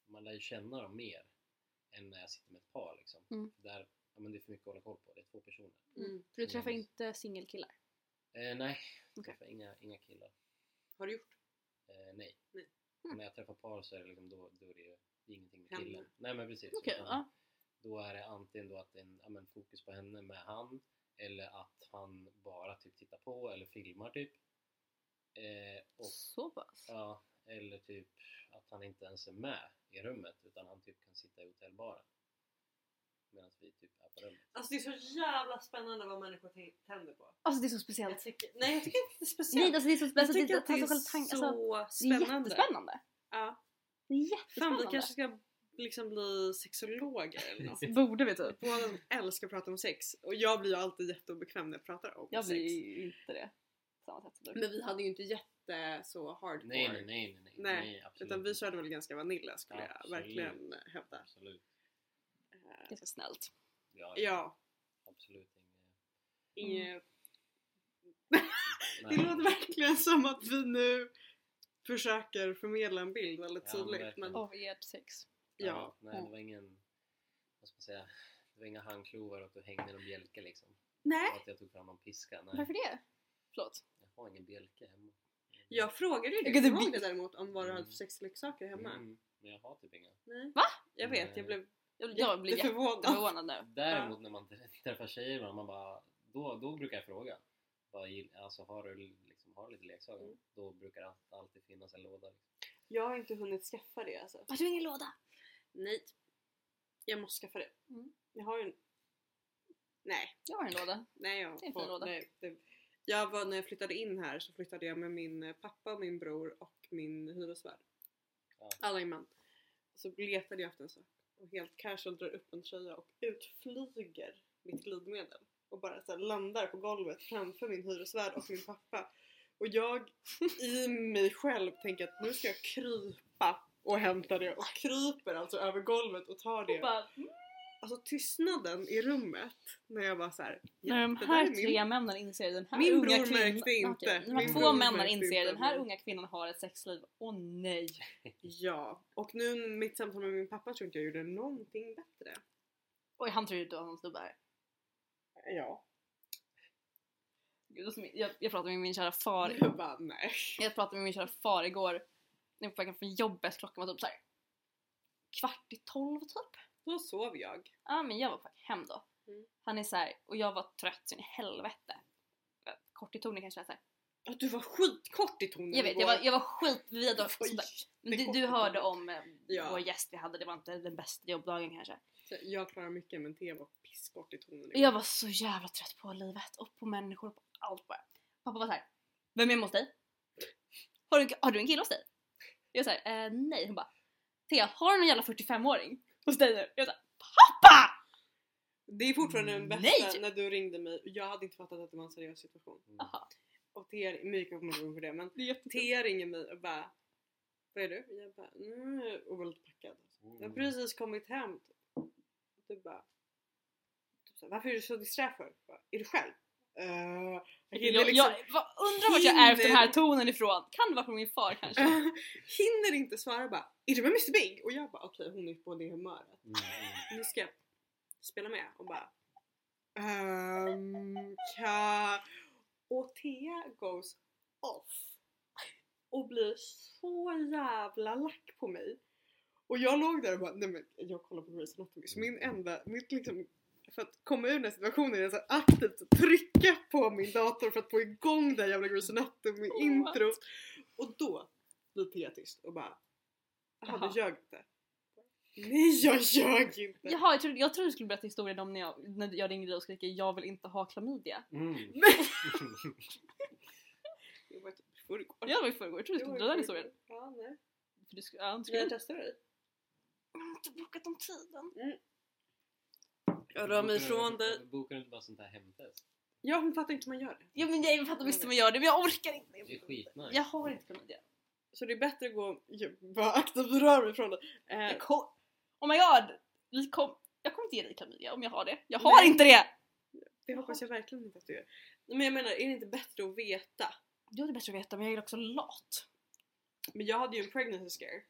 man lär ju känna dem mer än när jag sitter med ett par liksom. Mm. Där, ja, men det är för mycket att hålla koll på, det är två personer. Mm. För du träffar Mm. inte singelkillar? Eh, nej, Okej. jag träffar inga, inga killar. Har du gjort? Eh, nej. Nej. Mm. När jag träffar par så är det liksom då, då är det ju det är ingenting med Henne. killen. Nej men precis. Okej, Utan ja. Då är det antingen då att det är en, ja, men fokus på henne med han eller att han bara typ tittar på eller filmar typ. Eh, och, Så pass? ja, eller typ att han inte ens är med i rummet utan han typ kan sitta i hotellbaren. Medan vi typ är på rummet. Alltså det är så jävla spännande vad människor tän- tänder på. Alltså det är så Jag speciellt. tycker, nej jag tycker inte det är Nej speciellt. alltså det är så jag speciellt. tycker att det alltså, är själva tanken- alltså, så det är spännande. jättespännande. Ja. Det är Fan vi jättespännande. kanske ska liksom bli sexologer eller något. Borde vi typ? Båda älskar att prata om sex och jag blir ju alltid jätteobekväm när jag pratar om Jag sex. blir ju inte det. på Samma sätt som du. Men vi hade ju inte jätte så hardcore. Nej, nej, nej, nej, Nej, absolut. Utan vi körde väl ganska vanilla skulle jag Absolut. verkligen hävda. Absolut. Eh, Ganska snällt. Ja, Ja, absolut. inget... inget- Det nej. låter verkligen som att vi nu försöker förmedla en bild väldigt Ja, men tydligt. verkligen. Men Av ert sex. ja. Nej, det var ingen, vad ska man säga, det var inga handklovar och att du hängde någon bjälke liksom. Nej, Och att jag tog fram någon piska. Nej, Varför det? Förlåt. jag har ingen bjälke hemma. jag frågade ju dig, Vilket kommer är du ihåg det vi- däremot om vad du hade för sexleksaker hemma. Mm. Men jag har typ inga. Nej. Va? Jag vet, jag blev Jag, jag blir jätteförvånad. jätteförvånad nu. Däremot när man träffar tjejer man bara, då, då brukar jag fråga. Vad gill- alltså har du liksom, har du lite leksaker? Mm. Då brukar det alltid- alltid finnas en låda. Liksom. Jag har inte hunnit skaffa det alltså. Har du ingen låda? Nej. Jag måste skaffa det. Mm. Jag har ju en... Nej. Jag har en låda. Nej, jag Det är en får- fin låda. Nej, det, jag var, när jag flyttade in här så flyttade jag med min eh, pappa, och min bror och min hyresvärd. Ja. Alla i man. Så letade jag efter en sak och helt casual drar upp en tröja och utflyger mitt glidmedel och bara så här, landar på golvet framför min hyresvärd och min pappa. Och jag i mig själv tänker att nu ska jag krypa och hämta det och kryper alltså över golvet och tar det. bara, "Mm, Alltså tystnaden i rummet när jag var så här. När de det där är här min tre männen inser den här Min unga bror kvinnan... märkte inte. Okej, De här Min två bror männen märkte inser inte. den här unga kvinnan har ett sexliv. Åh nej! Ja, och nu mitt samtal med min pappa tror inte jag gjorde någonting bättre. Oj, han tror ju att du har någon snubbe här. Ja. Gud, alltså, min- jag, jag pratade med min kära far Jag bara nej. Jag pratade med min kära far igår när jag var på vägen från jobbet. Klockan var typ så här kvart i tolv typ. Då sov jag. Ja men jag var på väg hem då. Mm. Han är så här, och jag var trött så in i helvete. Kort i tonen kanske jag säger. Ja, du var skitkort i tonen Jag vet, jag igår. var, jag var skitvid och Oj, sådär. Men det du, är du kort. hörde om eh, Ja. vår gäst vi hade, det var inte den bästa jobbdagen kanske. Så Jag klarar mycket men Thea var pisskort i tonen igår. Jag var så jävla trött på livet och på människor och på allt bara. Pappa var såhär, vem är hemma hos dig? Har du, har du en kille hos dig? Jag såhär, eh, nej. Hon bara, Thea har du någon jävla 45-åring hos dig nu? Jag såhär, PAPPA! Det är fortfarande den bästa Nej! när du ringde mig och jag hade inte fattat att det var en seriös situation. Mm. Aha, Och Thea, mycket kommer ihåg för det men det är jättekul. Thea ringer mig och bara Vad är du? Jag bara mm, och var lite packad. Mm. Jag har precis kommit hem. typ. Du bara... Typ så här, Varför är du så disträ för? Jag bara, Är du själv? Eh, jag hinner Jag, jag liksom... vad- undrar vart jag ärvt den här Hinner. tonen ifrån. Kan det vara från min far kanske? hinner inte svara bara Är du med Mr Big? Och jag bara okej hon är på det humöret. Mm, mm. Nu ska jag spela med och bara ehm, ka... Och Thea goes off och blir så jävla lack på mig. Och jag låg där och bara nej men jag kollar på Grey's Anatomy så min enda, mitt liksom för att komma ur den här situationen är jag så här aktivt trycka på min dator för att få igång det här jävla Grey's Anatomy What? introt. Och då blir Thea tyst och bara Jaha Jaha. du ljög inte? Nej jag ljög inte! Jaha, jag trodde, jag trodde du skulle berätta historien om när jag, när jag ringde dig och skrek jag vill inte ha klamydia. Mm. Det var typ i förrgår. Ja det var i förrgår, jag trodde du Det var skulle i dra den förrgår. historien. Ja, nej. För du skulle, ja, Ska du skulle jag testa dig? Jag har inte bokat om tiden. Jag rör mig Bokar du- ifrån dig. Bokar du inte bara sånt här hemtest? Ja hon fattar inte hur man gör det. Ja men jag fattar visst hur man gör det men jag orkar inte. Det är skitnice. Jag har inte kunnat göra det. Så det är bättre att gå jag bara aktivt rör mig ifrån dig. Eh, Jag kom, oh my god! Vi kom, jag kommer inte ge dig klamydia om jag har det. Jag har Nej. inte det! det hoppas jag verkligen inte att du gör. Nej, Men jag menar är det inte bättre att veta? Jo det är bättre att veta men jag är också lat. Men jag hade ju en pregnancy scare.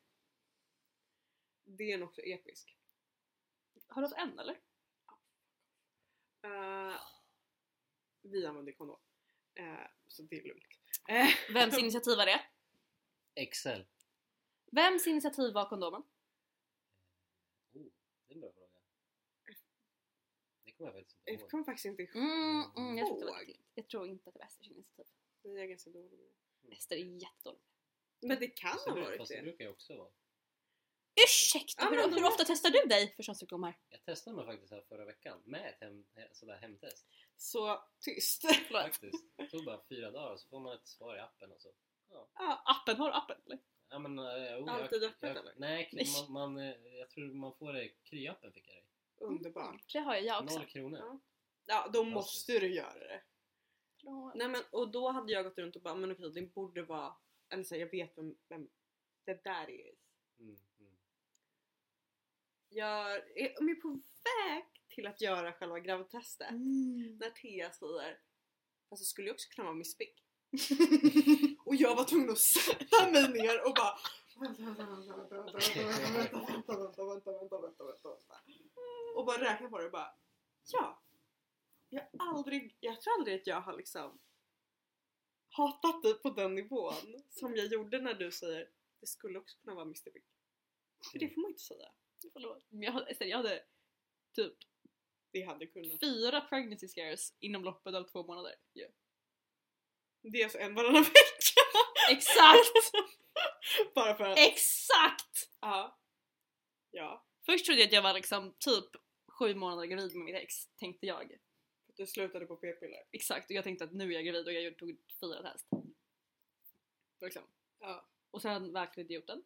Det är nog också episk. Har du haft en eller? Eh, vi använder kondom. Eh, så det är lugnt. Eh, Vems initiativ var det? Excel. Vems initiativ var kondomen? Oh, det är en bra fråga. Det kommer jag faktiskt inte jag ihåg. kommer faktiskt inte ihåg. Mm, mm, jag, tror inte det var Ihåg. det. jag tror inte att det var Esters initiativ. Det är ganska dålig. Ester är jättedålig. Men det kan Fast ha det bru- varit Fast det det. brukar jag också vara. Ursäkta! Ja, Hur, men- hur ofta testar du dig för könssjukdomar? Jag testade mig faktiskt här förra veckan med ett hem, eh, sådär hemtest. Så tyst. Faktiskt. Det tog bara fyra dagar så får man ett svar i appen och så. Ja, Appen, har du appen eller? Ja, men, eh, jo, Alltid jag, öppet, jag, eller? Nej, Nej. man, man, eh, jag tror man får det i Kry-appen fick jag det. underbart. Det har jag, jag också. Noll kronor. Ja. Ja, då Fantastiskt. måste du göra det. Nej men och då hade jag gått runt och bara men okej det borde vara, eller så här, jag vet vem, vem det där är. Mm, mm. Jag är, om jag är på väg till att göra själva gravidtestet Mm. när Thea säger fast jag skulle ju också kunna vara Miss Big. och jag var tvungen att sätta mig ner och bara vänta vänta vänta vänta vänta vänta vänta vänta vänta vänta vänta vänta och bara räkna på det och bara ja jag har aldrig jag tror aldrig att jag har liksom hatat dig på den nivån som jag gjorde när du säger det skulle också kunna vara Mr Big För det får man inte säga. Förlåt. Men jag, hade- istället, jag hade typ Det hade kunnat. fyra pregnancy scares inom loppet av två månader. Ja. Det är alltså en varannan vecka. Exakt! Bara för att. Exakt! Ja. Ja. Först trodde jag att jag var liksom typ sju månader gravid med mitt ex, tänkte jag. För att du slutade på p-piller. Exakt, och jag tänkte att nu är jag gravid och jag gjorde- tog fyra test. Liksom. Ja. Och sen verkligen idioten.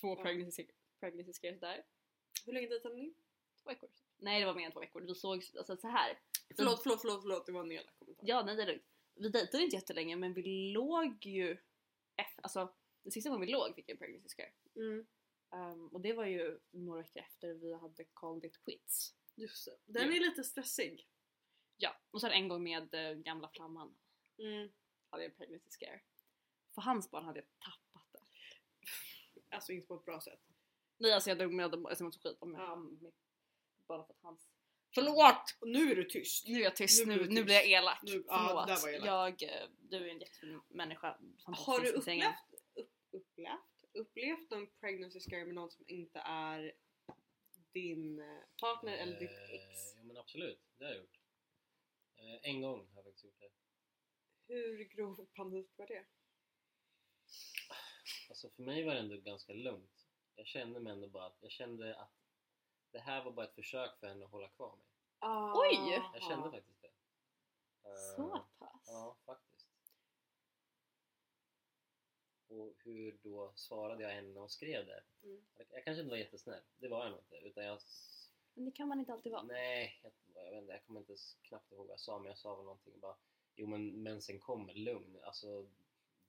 Två Ja. pregnancy, pregnancy scares där. Hur länge dejtade Mm. ni? Två veckor. Nej det var mer än två veckor, vi såg alltså, så här. Förlåt, förlåt, förlåt, förlåt. Det var en elak kommentar. Ja nej det är lugnt. Vi dejtade inte jättelänge men vi låg ju... F, alltså den sista gången vi låg fick jag en pregnancy scare. Mm. Ehm, och det var ju några veckor efter vi hade called it quits. Just det. Den är lite stressig. Ja, och sen en gång med eh, gamla flamman Mm. hade jag en pregnancy scare. För hans barn hade jag tappat det. Alltså inte på ett bra sätt. Nej alltså jag drog med dem, alltså jag mådde så skit om Ja. mig. Bara för att hans... Förlåt! Och nu är du tyst. Nu är jag Nu tyst, nu, blir nu, du tyst. blir jag elak. Nu- Förlåt. ja, det där var elakt. Jag, eh, du är en jättefin människa. Har du Fantastisk i sängen. upplevt, upp, upplevt, upplevt en pregnancy scare med någon som inte är din eh, partner eller ditt Eh. ex? Jo men absolut, det har jag gjort. Eh, en gång har jag faktiskt gjort det. Hur grov panik var det? Alltså för mig var det ändå ganska lugnt. Jag kände mig ändå bara att, jag kände att det här var bara ett försök för henne att hålla kvar mig. Ah. Oj! Jag kände faktiskt det. Eh, Så pass? Ja, faktiskt. Och hur då svarade jag henne när hon skrev det? Mm. Jag, jag kanske inte var jättesnäll, det var jag nog inte. Utan jag... s- Men det kan man inte alltid vara. Nej, jag, jag vet inte, jag kommer inte s- knappt ihåg vad jag sa men jag sa väl någonting bara Jo men mensen kommer, lugn. Alltså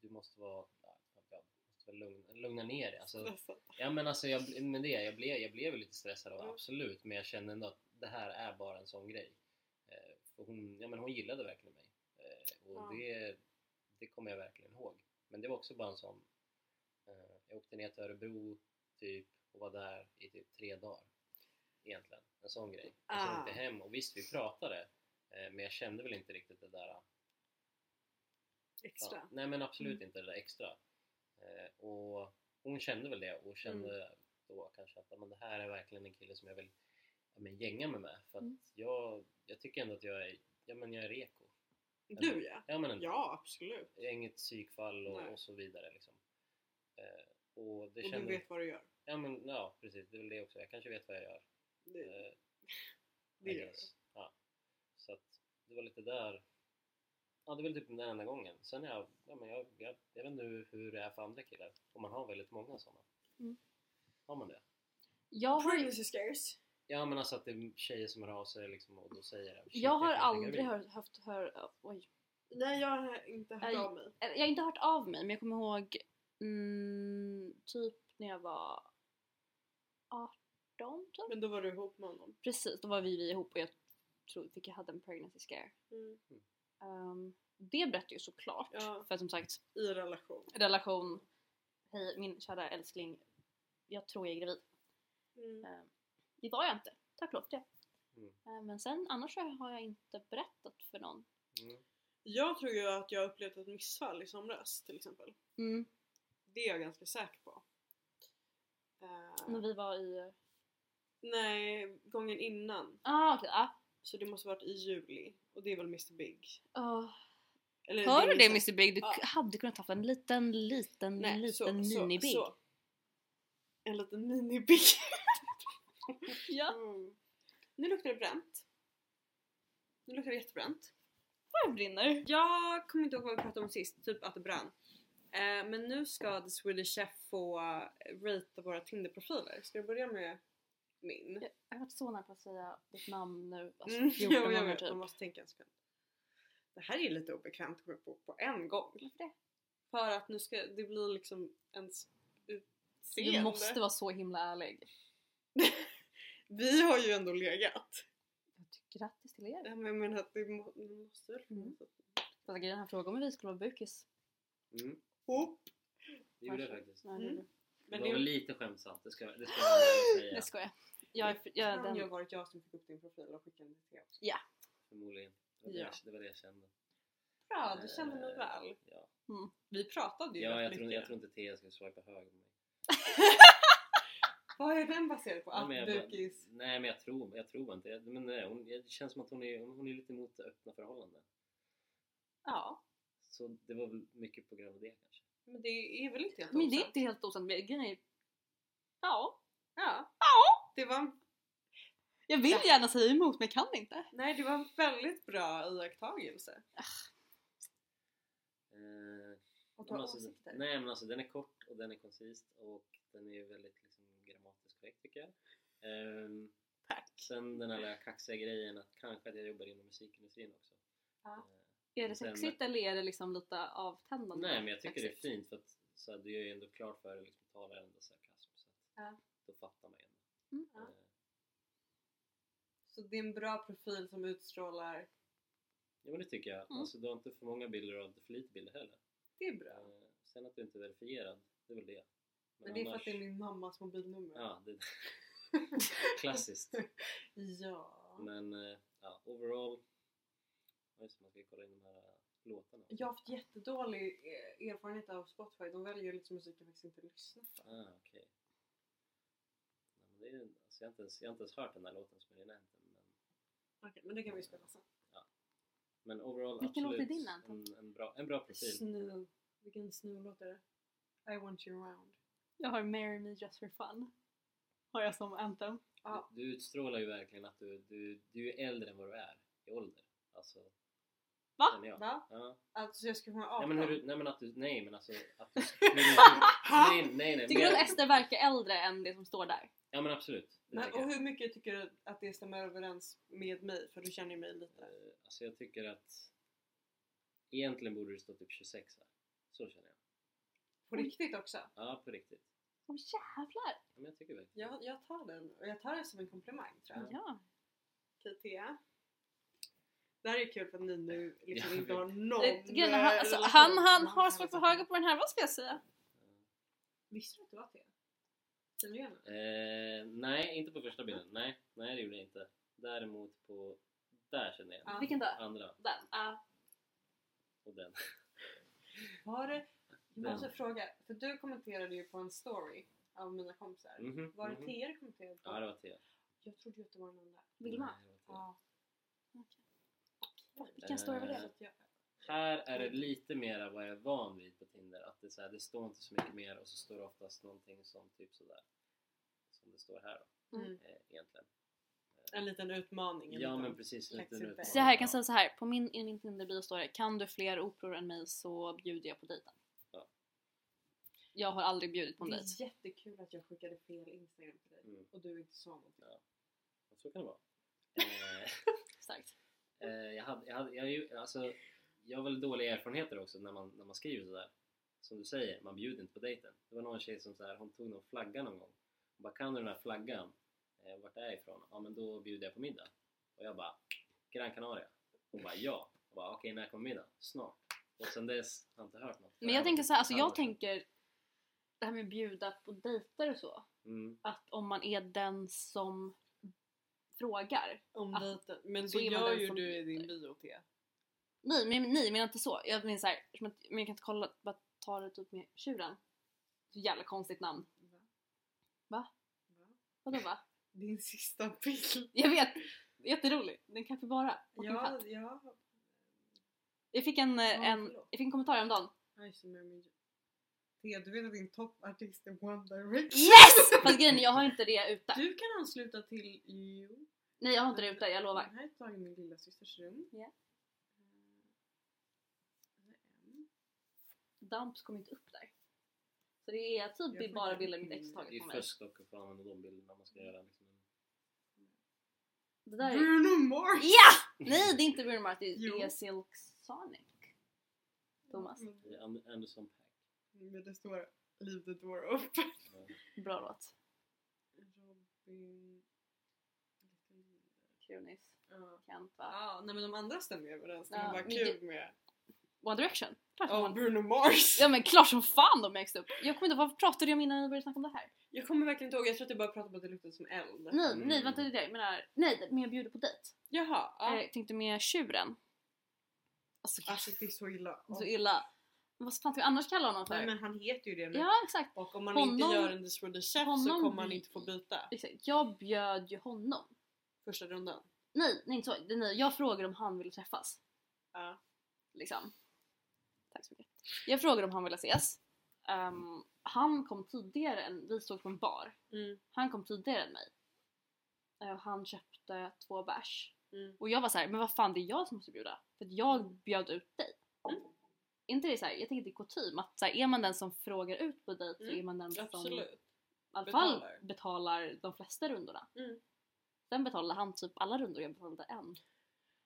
du måste vara... Ja, jag måste väl lugna, lugna ner dig. Alltså, Stressad. ja men alltså jag, men det, jag, blev, jag blev ju lite stressad av Mm. absolut men jag kände ändå att det här är bara en sån grej. Eh, för hon, ja, men hon gillade verkligen mig. Eh, och Ja. det, det kommer jag verkligen ihåg. Men det var också bara en sån... Eh, jag åkte ner till Örebro typ och var där i typ tre dagar. Egentligen. En sån grej. Och sen Ah. åkte jag hem och visst vi pratade eh, men jag kände väl inte riktigt det där Extra. Ja, nej men absolut Mm. inte det där extra. Eh, och hon kände väl det och kände då kanske att "Ja, men det här är verkligen en kille som jag vill ja, men, gänga mig med. För att Mm. jag, jag tycker ändå att jag är, ja, men jag är reko. Du ja. Ja, men ändå. Ja absolut. Jag är inget psykfall och, Nej. och så vidare. Liksom. Eh, och det Och du kände, vet vad du gör. ja, men, ja precis, det är väl det också. Jag kanske vet vad jag gör. Det, Eh, det I gör du. guess. Ja. Så att det var lite där. Ja, det var typ den enda gången. Sen är jag, ja, men jag, jag, jag vet inte hur, hur det är för andra killar. Om man har väldigt många sådana. Mm. Har man det? Jag har, Pregnancy scares. Ja men alltså att det är tjejer som hör av sig liksom och då säger det. jag har aldrig hört, haft, hör, oj. Nej jag har inte hört Aj. av mig. Eller, Jag har inte hört av mig men jag kommer ihåg mm, typ när jag var 18 typ. Men då var du ihop med honom. Precis, då var vi, vi ihop och jag tror fick jag hade en pregnancy scare. Mm. Ehm, det berättade jag såklart Ja. för som sagt I relation. relation, hej min kära älskling, jag tror jag är gravid. Mm. Ehm, det var jag inte, tack och lov för det. Mm. Ehm, men sen annars så har jag inte berättat för någon. Mm. Jag tror ju att jag upplevt ett missfall i somras till exempel. Mm. Det är jag ganska säker på. Eh, När vi var i, Nej, gången innan. ah okej, ah. Så det måste varit i juli. Och det är väl Mr Big. Åh. Eller Hör du det Mr. liksom- Mr Big? Du Ja. k- hade kunnat haft en liten, liten, Nej, så- liten så- mini-Big. så. En liten mini-Big. Ja. Mm. Nu luktar det bränt. Nu luktar det jättebränt. Jag brinner. Jag kommer inte ihåg vad vi pratade om sist, typ att det brann. Eh, men nu ska The Swedish Chef få eh, ratea våra Tinder-profiler. Ska du börja med min? Jag jag har varit så nära på att säga ditt namn nu. Alltså Mm, 14 jo, jag gånger vet. typ. Man måste tänka en sekund. Det här är lite obekvämt kommer jag på, på en gång. Varför det? För att nu ska det bli liksom ens Du utseende. måste vara så himla ärlig. Vi har ju ändå legat. Jag tycker Grattis till er. Ja, men Jag menar att det må, det måste väl Mm. Fast grejen, han frågade om vi skulle vara bukis. Mm. ihop. Det gjorde jag Varsågod. faktiskt. Nej, Mm. det- Det Men var väl det lite skämtsamt, det ska, det ska jag Nej säga. skojar. Jag är, jag är kan ju ha den. varit jag som fick upp din profil och skickade den till er. Förmodligen. Det var det, jag, Ja. det var det jag kände. Bra, du kände mig Eh, väl. Ja, Vi pratade ju ja rätt jag, tror, mycket. jag tror inte Thea skulle swipa höger på mig. Vad är den baserad på? Ja, Att men jag- bukis... Nej men jag tror, jag tror inte Jag- men nej, hon, Det känns som att hon är, hon är lite emot öppna förhållanden. Ja. Så det var väl mycket på grund av det kanske. Men det är väl inte helt Men det är osant? inte helt osant. men grejen är- Ja. Ja. Det var en, Jag vill Ja. gärna säga emot men jag kan inte. nej, det var en väldigt bra iakttagelse. Eh, Och men ta alltså, åsikter. nej men alltså den är kort och den är koncist och den är väldigt liksom, grammatiskt korrekt tycker jag. Ehm, Tack. sen den här lilla kaxiga grejen att kanske att jag jobbar inom musikindustrin också. Ja. Eh, Är det Sen- sexigt eller är det liksom lite avtändande? Nej men jag tycker sexigt? det är fint för att så här, du är ju ändå klar för det liksom, talar ändå sarkasm så att Ja. då fattar man ju ändå. Mm. Ja. Eh, Så det är en bra profil som utstrålar... ja men det tycker jag. Mm. Alltså, du har inte för många bilder och inte för lite bilder heller. Det är bra. Eh, sen att du inte är verifierad, det är väl det. Men det är för att det är min mammas mobilnummer. Ja, det klassiskt. ja. Men eh, ja, overall... Ja, Just det, man ska ju kolla in de här eh, låtarna. också. Jag har haft jättedålig eh, erfarenhet av Spotify. De väljer liksom musik jag faktiskt inte lyssnar på. Ah, okej. Nej, men det är, alltså, jag, har inte ens, jag har inte ens hört den här låten som är din anthem. Men, Okej, men det kan vi spela sen. men overall Vilken låt är absolut din anthem? en, en, bra, en bra profil. Snu. Vilken snulåt är det? I want you around. Jag har Marry Me Just For Fun. Har jag som anthem. Ja. Du, du utstrålar ju verkligen att du, du, du är äldre än vad du är i ålder. Alltså, Va? känner jag. Va? Ja. Alltså jag skulle kunna Nej, 18. men hur, du- nej men att du, nej men alltså att du, nej, Ha! nej, nej, nej, Tycker du mer- att Ester verkar äldre än det som står där? Ja men absolut. Det Men, tycker och jag. hur mycket tycker du att det stämmer överens med mig? För du känner ju mig lite. Eh, Alltså jag tycker att egentligen borde det stå typ 26 här. Så känner jag. På Oj. riktigt också. Ja, på riktigt. Åh jävlar! Ja, men jag tycker verkligen Jag, jag tar den. Och jag tar det som en komplimang tror jag. Ja. KTA. Det här är kul för att ni nu liksom Ja, inte vi- har någon Eh, grejen är, eh, han, alltså, relation. han, han har svårt för höger på den här, vad ska jag säga? Visste du att det var T? Känner du igen den? Eh, nej, inte på första bilden. Nej, nej det gjorde jag inte. Däremot på... Där känner jag Ja. den. Vilken då? Andra Den. Ah. och den. Var det... Jag Den. måste fråga, för du kommenterade ju på en story av mina kompisar. Mhm, Var det mhm. TR kommenterade på? Ja, det var T. Jag trodde ju att det var någon där. Vilma. Nej, det var T. Ja. Fuck, Vilken story var Så det? att jag, Här är det lite mera vad jag är van vid på Tinder. Att det, är så här, det står inte så mycket mer och så står det oftast någonting som typ sådär. Som det står här då. Mm. Eh, egentligen. en liten utmaning. en Ja liten- men precis, slags lite nu. rebell. Så här, jag kan säga så här. på min min Tinder-bio står det Kan du fler operor än mig så bjuder jag på dejten. Ja. Jag har aldrig bjudit på en Det dejt. är jättekul att jag skickade fel Instagram till dig Mm. och du inte sa någonting. Så kan det vara. Eh, Starkt. Eh, jag, hade, jag, hade, jag, är ju- alltså, jag har väl dåliga erfarenheter också när man, när man skriver sådär. Som du säger, man bjuder inte på dejten. Det var någon tjej som så här, hon tog någon flagga någon gång. Hon bara, kan du den här flaggan? Eh, vart är jag ifrån? Ja men då bjuder jag på middag. Och jag bara, Gran Canaria? Hon bara, ja. Jag bara, okej när kommer middag? Snart. Och sen dess har jag inte hört något. Men jag tänker så här, alltså jag tänker det här med bjuda på dejter och så. Mm. Att om man är den som frågar. Om Ah. dejten. Men Så det är man gör den ju som du i din bjuder. bio T. Nej, men, nej, men inte så. Jag menar så här, som att, men jag kan inte kolla, bara ta det typ med tjuren. Så jävla konstigt namn. Va? Va? Vadå va? Din sista bild. Jag vet! Jätterolig. Den kanske bara. Och en Ja, katt. ja. Jag fick en, eh, en, förlåt. jag fick en kommentar häromdagen. Nej, så med min... T, du vet att din toppartist är One Direction? Yes! Fast grejen är, jag har inte det ute. Du kan ansluta till... Jo. Nej jag har inte det ute, jag lovar. Den här är tagen i min lilla systers rum. Ja. Eh, nej, Damps kom inte upp där. Så det är typ Jag får bara inte bilder upp mitt ex min- Det tagit är på mig. fusk dock att få använda de bilderna man ska göra. Liksom. Det en. där är... Bruno Mars! Mm. Ja! Nej det är inte Bruno Mars, det Jo. är Silk Sonic. Thomas. Men- Det är And- Anderson Paak. Mm, Men det står Leave the door open. Ja. Bra låt. Robin... Kronis. Ja. Kent va? Ah, nej men de andra stämmer ju överens. Det Ja, var bara men kul med One Direction? Klart som Ja, fan. Bruno Mars! Ja men klart som fan de växte upp! Jag kommer inte varför pratade jag om innan vi började snacka om det här? Jag kommer verkligen inte ihåg, jag tror att jag bara pratade om att det luktade som eld. Nej, Mm. nej vänta det är det jag menar. Nej, men jag bjuder på dejt. Jaha, ja. Eh, Jag tänkte med tjuren. Alltså, Alltså det är så illa. så illa. Vad fan ska vi annars kalla honom för? Nej men han heter ju det nu. Ja exakt. Och om man Honom- inte gör en Disroder Chef så honom kommer man blir- inte få byta exakt. Jag bjöd ju honom. första rundan. Nej, nej inte så. Det är ni. Jag frågar om han vill träffas. Ja. Liksom. Tack så mycket. Jag frågar om han vill ses. Ehm, han kom tidigare än, vi stod på en bar. Mm, Han kom tidigare än mig. Eh, och han köpte två bärs. mm. Och jag var så här, men vad fan det är jag som måste bjuda. För att jag bjöd ut dig. Mm. Inte det så här, jag tänker det är kutym att så här, är man den som frågar ut på dejt så Mm, är man den som i Absolut. alla fall betalar. betalar de flesta rundorna. Mm. Sen betalade han typ alla rundor, jag betalade en. Han men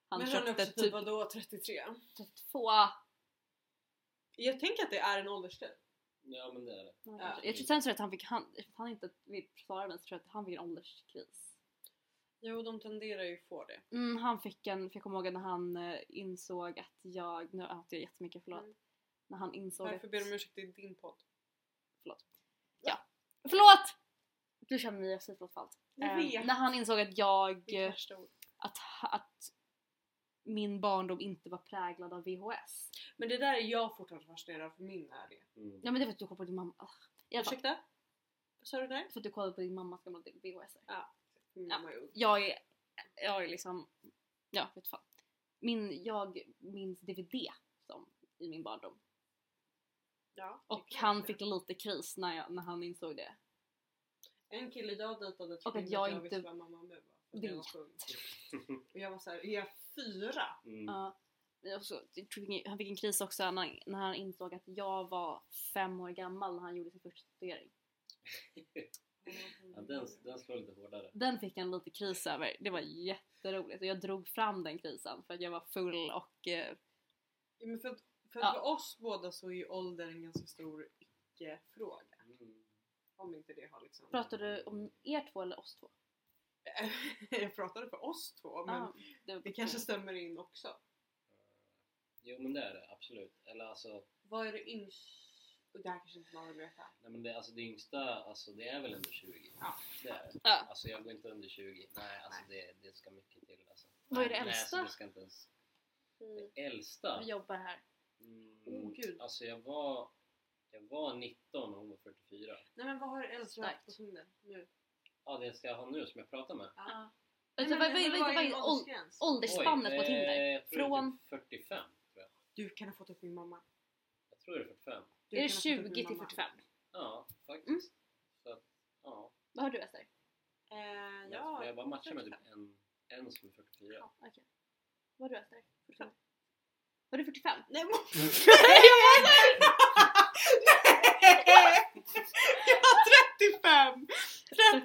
han är köpte också typ typ vadå 33? 32. Jag tänker att det är en åldersgrej. Ja men det är det. Ja. Jag tror sen så att han fick, han, eftersom han inte vill försvara mig så tror jag att han fick en ålderskris. Jo de tenderar ju få det. Mm, han fick en, för jag kommer ihåg när han eh, insåg att jag, nu äter jag jättemycket förlåt. Mm. När han insåg Varför att... ber du om ursäkt i din podd? Förlåt! Du känner mig, jag säger förlåt för allt. Jag Eh, vet. När han insåg att jag, Mitt eh, värsta ord. att, att min barndom inte var präglad av VHS. Men det där är jag fortfarande fascinerad av för min är det. Mm. Ja men det var för att du kollade på din mamma. Ah, I alla fall, Ursäkta? Vad sa du där? för att du kollade på din mammas gamla VHS. Min Ja. mamma är ung. Jag är, jag är liksom, ja vet fan. Min, jag minns DVD som i min barndom. Ja, det Och kan han jag fick lite kris när, jag, när han insåg det. En kille jag dejtade Och trodde att inte jag att jag inte visste vad mamma och mu var. för att jag var vet. för ung. Och jag var såhär, är jag fyra? Mm. Ja. Men också, jag tror han fick en kris också när han, när han insåg att jag var fem år gammal när han gjorde sin första tatuering. Ja, den, den slår lite hårdare. Den fick han lite kris över. Det var jätteroligt och jag drog fram den krisen för att jag var full och eh, Ja, men för att, för, Ja. att för oss båda så är ju ålder en ganska stor icke-fråga. Mm. Om inte det har liksom... pratar du om er två eller oss två? jag pratade för oss två men Ah, det, var- det kanske stämmer in också. Jo men det är det absolut. Eller alltså, Vad är det yngst... och Det här kanske inte man vill veta. nej, men det, alltså det yngsta alltså, det är väl under 20? Ja. Det är det. Ja. Alltså jag går inte under 20. Nej alltså Det, det ska mycket till. Alltså. Vad är det Nej, Nej, alltså, äldsta? Mm. det ska inte ens... Det äldsta? Vi jobbar här. Mm, Oh, Åh, gud. Alltså jag var, jag var 19 och hon var 44. Nej men vad har du äldst haft Starkt. på Tinder nu? Ja det ska jag ha nu som jag pratar med. Ja. Nej, Alltså, men- vad, men vad, vad, är vad, din vad, åld- åldersgräns? åldersspannet på eh, Tinder? jag tror det är Från- typ 45 tror jag. Du kan ha fått upp min mamma. Jag tror det är 45. Du Är det kan ha fått upp 20 min till mamma. 45? Ja faktiskt. Mm. Så att, ja. Vad har du Ester? Eh, Jag, ja, men jag bara matchar med typ en, en som är 44. Ja, okej. Vad har du Ester? 45? Var du 45? Nej, men... jag har 35!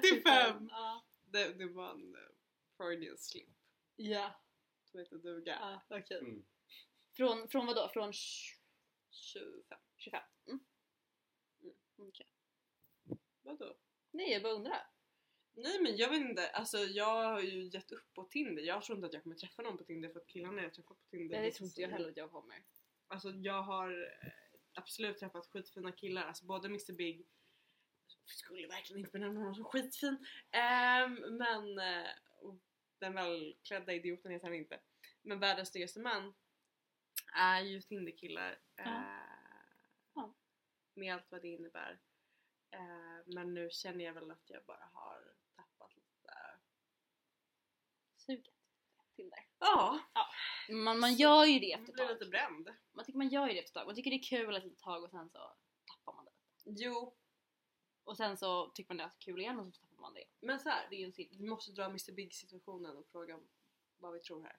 35! Ja. Det, det var en eh, Freudian slip ja. som heter duga. okej. Mm. Från, från vad då? Från tj- 25. 25? Mm. Mm. Okej. Vadå? Nej, jag bara undrar. Nej men jag vet inte, alltså jag har ju gett upp på Tinder. Jag tror inte att jag kommer träffa någon på Tinder för att killarna jag träffat på Tinder Nej, det är tror inte så- jag heller att jag kommer. Alltså jag har eh, absolut träffat skitfina killar, alltså både Mr Big skulle verkligen inte benämna honom som skitfin ehm, men eh, och den välklädda idioten heter han inte men världens snyggaste man är ju Tinderkillar Ja. eh, Ja. med allt vad det innebär eh, men nu känner jag väl att jag bara har tappat lite Suget. Tinder. ja, Man, man gör ju det jag efter blir ett lite tag. bränd Man tycker man gör ju det efter ett tag. Man tycker det är kul ett litet tag och sen så tappar man det. jo Och sen så tycker man det är kul igen och så tappar man det. men så här, Det är ju en cirkel. vi måste dra Mr Big situationen och fråga vad vi tror här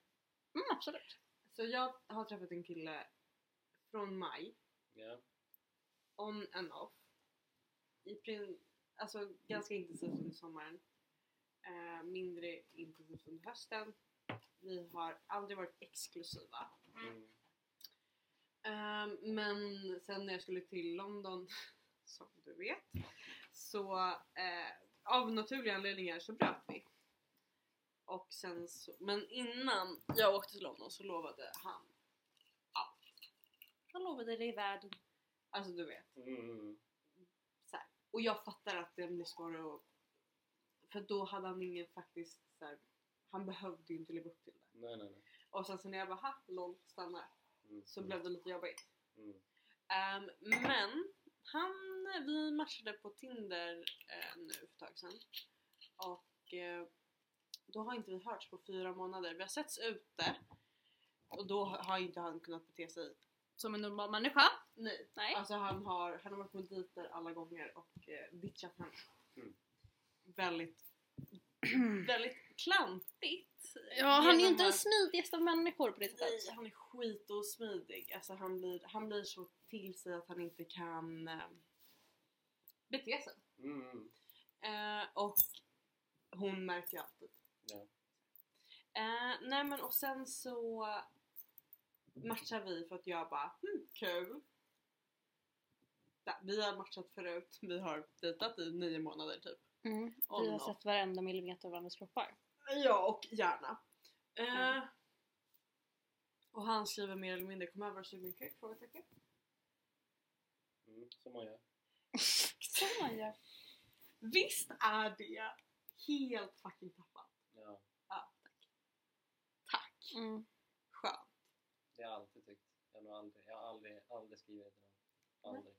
Mm, absolut. Så jag har träffat en kille från maj, Ja. on and off. I prin- alltså ganska intensivt under sommaren. Eh, mindre intensivt under hösten. Vi har aldrig varit exklusiva. Mm. Ehm, men sen när jag skulle till London, som du vet, så eh, av naturliga anledningar så bröt vi. Och sen så, men innan jag åkte till London så lovade han, Jag lovade dig världen. alltså du vet. Mm. så här. Och jag fattar att det blir svårare att... För då hade han ingen faktiskt... Så här, han behövde ju inte leva upp till det. Nej nej nej. Och sen så när jag bara ha, lol, stannar. Mm. Så blev det lite jobbigt. Mm. Ehm, men han, vi matchade på Tinder eh, nu för ett tag sedan. Och eh, då har inte vi hörts på fyra månader. Vi har setts ute och då har inte han kunnat bete sig. Som en normal människa. Nej. Nej. Alltså han har, han har varit på dejter alla gånger och eh, ditchat henne. Mm. Väldigt, väldigt klantigt. Ja, han är ju Genom inte den att- smidigaste av människor på det Nej, sättet. han är skitosmidig. Alltså han blir, han blir så till sig att han inte kan eh, bete sig. Mm, mm. Eh, och hon märker ju alltid. Ja. Eh, nej men och sen så matchar vi för att jag bara hm, kul. Ja, Vi har matchat förut, vi har dejtat i nio månader typ. Mm. Om Vi har något. sett varenda millimeter av varandras kroppar. Ja, och gärna. Eh, Mm. och han skriver mer eller mindre kom över och sug min kuk? Frågetecken. Mm, som man gör. Som man gör. Visst är det helt fucking tappat? Ja, Tack! Mm. Skönt. det har jag alltid tyckt. Jag har, nog aldrig, jag har aldrig, aldrig skrivit till någon. Aldrig.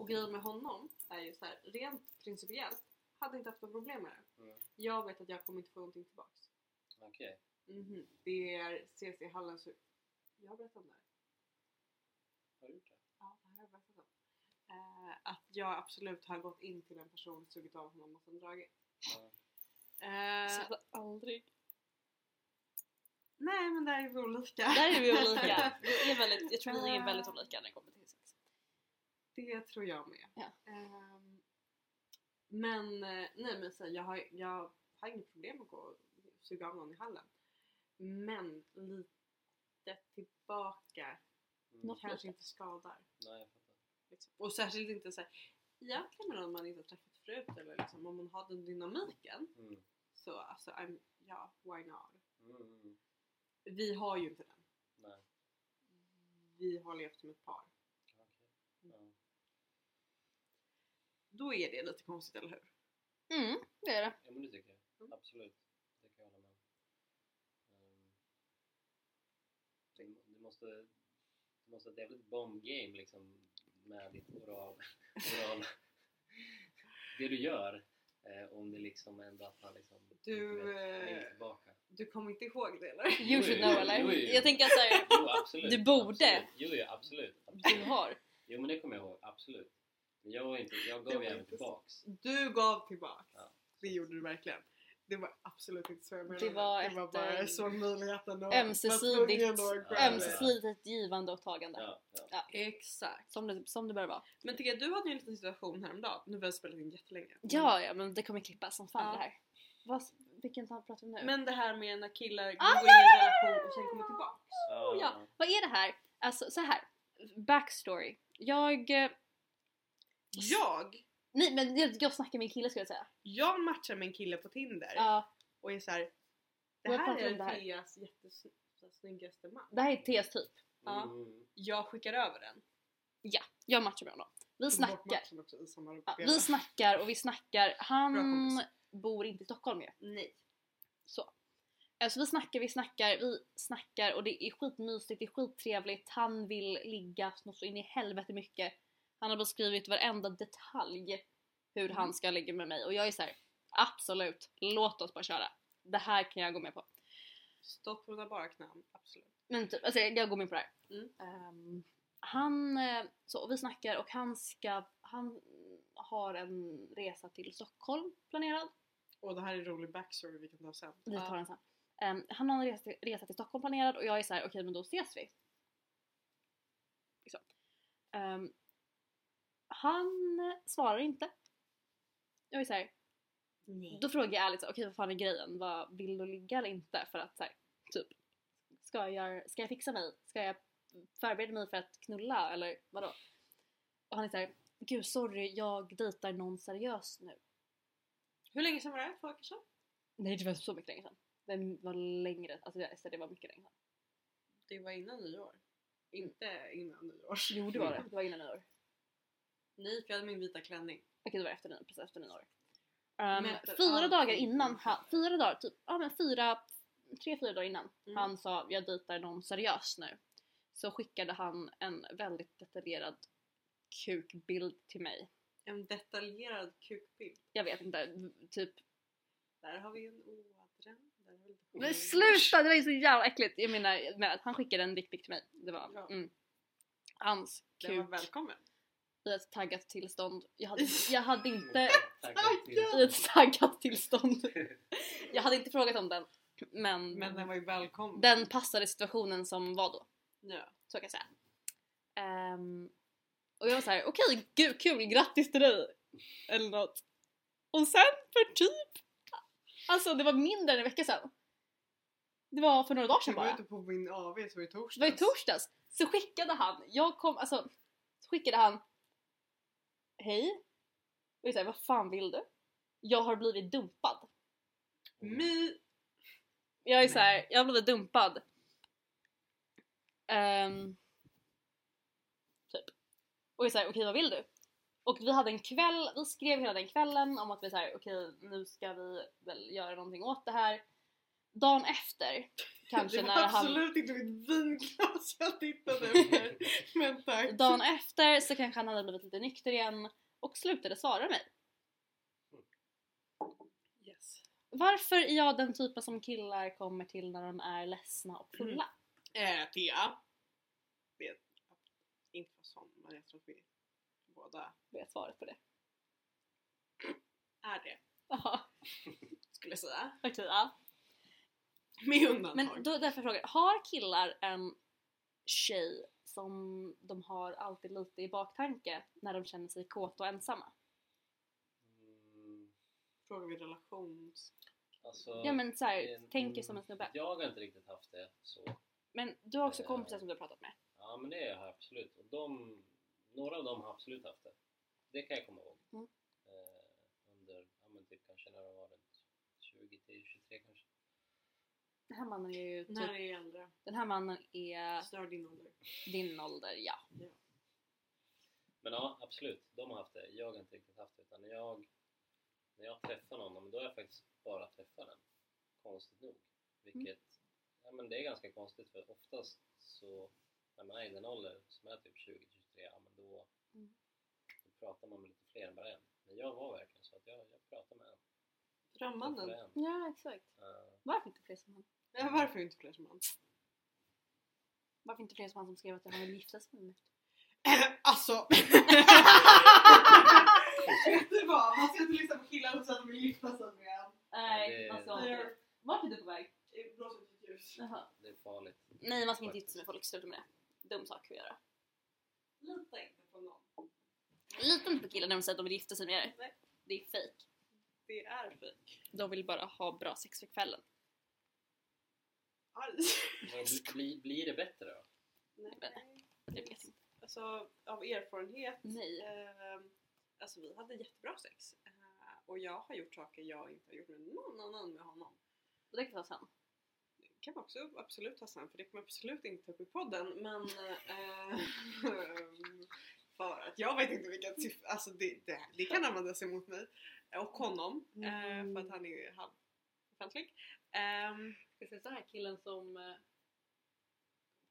Och grejen med honom är ju så här, rent principiellt, hade inte haft några problem med det. Mm. Jag vet att jag kommer inte få någonting tillbaks. Okej. Mhm. Det är CC Hallens Jag har berättat om det här. Har du gjort det? Ja, det här har jag berättat om. Eh, att jag absolut har gått in till en person, sugit av honom och sen dragit. Ja. Så Eh, jag hade aldrig. nej men där är vi olika. Där är vi olika. Vi är väldigt, jag tror vi är väldigt olika när det kommer till sex. Det tror jag med. Ja. Ehm, men eh, nej men så här, jag har, jag har inget problem att gå och suga av någon i hallen. Men lite tillbaka Mm. Något. kanske lite. inte skadar. Nej, jag fattar. Liksom. Och särskilt inte så här, egentligen med någon man inte har träffat förut eller liksom, om man har den dynamiken Mm. så alltså I'm, ja, why not? Mm, mm, mm. Vi har ju inte den. Nej, Vi har levt som ett par. okej. Ja. Då är det lite konstigt, eller hur? Mm, det är det. Ja men det tycker jag. Mm. Absolut. Det kan jag hålla med om. Ehm, du, du måste du måste ha ett jävligt bomb game liksom med ditt oral, oral det du gör eh, om det liksom ändå att man liksom Du, inte vet, eh, längre tillbaka. Du kommer inte ihåg det eller? You should know eller? Jo, jo, jo. Jag tänker såhär, Jo absolut. du borde. Absolut. Jo, jo absolut. du har. Jo men det kommer jag ihåg. Absolut. Men jag var inte, jag Det gav var ju även inte så. tillbaks. Du gav tillbaks. Ja. Det gjorde du verkligen. Det var absolut inte så jag menade. Det var det var ett, bara eh, jag såg möjligheten och ömsesidigt- Ja. Ömsesidigt givande och tagande. Ja, ja. Exakt. Som det, som det bör vara. Men Tigga, du hade ju en liten situation häromdagen. Nu har jag spelat in jättelänge. Ja, ja men det kommer klippas som fan Ja. det här. Vad, vilken tal pratar vi nu? Men det här med när killar går in Ah, i en relation och sen kommer tillbaka. Ja, Oh, ja. Vad är det här? Alltså så här. backstory. Jag... eh, Jag, Nej men jag, jag snackar med en kille skulle jag säga. jag matchar med en kille på Tinder Ja, och är såhär Det Vad här pratar vi om är det här? Theas jättesnyggaste man. det här är Theas typ. Ja. Mm. Jag skickar över den. Jag matchar med honom. Vi Tog bort snackar. matchen också i samma Ja, veva. vi snackar och vi snackar. Bra Han kompis. bor inte i Stockholm ju. Nej. Så. Alltså vi snackar, vi snackar, vi snackar och det är skitmysigt, det är skittrevligt. Han vill ligga något så in i helvete mycket. Han har beskrivit varenda detalj hur Mm. han ska ligga med mig och jag är så här: absolut, låt oss bara köra. Det här kan jag gå med på. Stopp på mina bara knän, absolut. Men typ, alltså jag går med på det här. Mm. Ehm, han, eh, så och vi snackar och han ska, han har en resa till Stockholm planerad. Och det här är rolig backstory vi kan ta sen. Vi tar den sen. Ehm, han har en resa till, resa till Stockholm planerad och jag är så här: okej men då ses vi. Liksom. Ehm, han svarar inte. Jag är så här, Nej. då frågar jag ärligt så här, okej vad fan är grejen? Vad, vill du ligga eller inte? För att så här, typ, ska jag, ska jag fixa mig? Ska jag förbereda mig för att knulla eller vadå? Och han är så här, gud sorry jag dejtar någon seriös nu. Hur länge sedan var det? Två veckor sedan? Nej det var så mycket länge sedan. Det var längre, alltså det, det var mycket länge sedan. Det var innan nyår. Inte innan nyår. Jo det var det, det var innan nyår. Nej, för jag hade min vita klänning. Okej det var efter nyår, precis efter nyår. Um, Mäter fyra allt dagar i innan, kroppen. han, fyra dagar, typ, ja men fyra, tre fyra dagar innan Mm. han sa jag dejtar någon seriös nu. så skickade han en väldigt detaljerad kukbild till mig. En detaljerad kukbild. Jag vet inte, typ... Där har vi en ådra. Där har vi lite Men hår. sluta! Det där är så jävla äckligt! Jag menar, men att han skickade en dickpic till mig. Det var... Ja. Mm. Hans Den var kuk välkommen. i ett taggat tillstånd. Jag hade, jag hade inte... Tack! I ett taggat tillstånd. Jag hade inte frågat om den. Men, Men den var ju välkommen. den passade situationen som var då. Ja. Så kan jag säga. Ehm, och jag var så här: okej gud kul, grattis till dig! Eller något. Och sen för typ, alltså det var mindre än en vecka sedan. Det var för några dagar Jag sedan var bara. ute på min AV så var det i torsdags. Det var i torsdags. Så skickade han, jag kom, alltså så skickade han Hej! Och jag säger vad fan vill du? Jag har blivit dumpad. Mi- Jag är så här, jag har blivit dumpad. Ehm, typ. Och jag är såhär, okej vad vill du? Och vi hade en kväll, vi skrev hela den kvällen om att vi såhär, okej nu ska vi väl göra någonting åt det här. Dagen efter, kanske det var när han... absolut inte mitt vinglas jag tittade efter. Men tack. Dagen efter så kanske han hade blivit lite nykter igen och slutade svara mig. Yes. Varför är jag den typen som killar kommer till när de är ledsna och fulla? Eh, Thea. Vet inte vad som, men jag tror att vi båda Vet svaret på det. är det. Jaha, Skulle jag säga. okej ja. Med undantag. Men då, därför frågar jag, har killar en tjej som de har alltid lite i baktanke när de känner sig kåta och ensamma? Mm, Frågar vi relations... Alltså, Ja men så här, det- tänker som en snubbe. Jag har inte riktigt haft det så. Men du har också Eh. kompisar som du har pratat med. Ja men det har jag absolut. Och de, några av dem har absolut haft det. Det kan jag komma ihåg. Mm. Eh, under, ja men typ kanske när de var runt 20 till 23 kanske. Den här mannen är ju När typ, är jag äldre? den här mannen är Snarare din ålder. din ålder, ja. Men ja, absolut. De har haft det. Jag har inte riktigt haft det. Utan när jag, när jag träffar någon, ja, men då har jag faktiskt bara träffat den. Konstigt nog. Mm. Vilket, ja men det är ganska konstigt för oftast så när man är i den åldern som är typ 20-23, ja men då, Mm. då pratar man med lite fler än bara en. Men jag var verkligen så att jag, jag pratade med en. Drömmannen. Träffade en. Ja exakt. Eh, Varför inte fler som han? Ja, varför inte fler som han? Varför inte fler som han som skrev att han vill gifta sig med mig? alltså! Vet du vad? Man ska inte lyssna på killar och säga att de är gifta sig med en. Nej, Ja, det- alltså, Vart är du på väg? Blås ut ett ljus. det är farligt. Nej man ska inte gifta sig med folk, sluta med det. Dum sak att göra. Lita inte på någon. Lita inte på killar när de säger att de vill gifta sig med er. Nej. Det är fejk. Det är fejk. De vill bara ha bra sex för kvällen. Aj. Men bli- bli- Blir det bättre då? Nej. Jag vet inte. Alltså av erfarenhet. Nej. ehm, alltså vi hade jättebra sex. Eh, och jag har gjort saker jag inte har gjort med någon annan med honom. Och det kan jag ta sen. kan man också absolut ha sen för det kommer jag absolut inte ta upp i podden men eh, för att jag vet inte vilka syften, alltså det, det, det kan användas emot mig och honom eh, för att han är halvoffentlig. Um, Ska se så här killen som eh,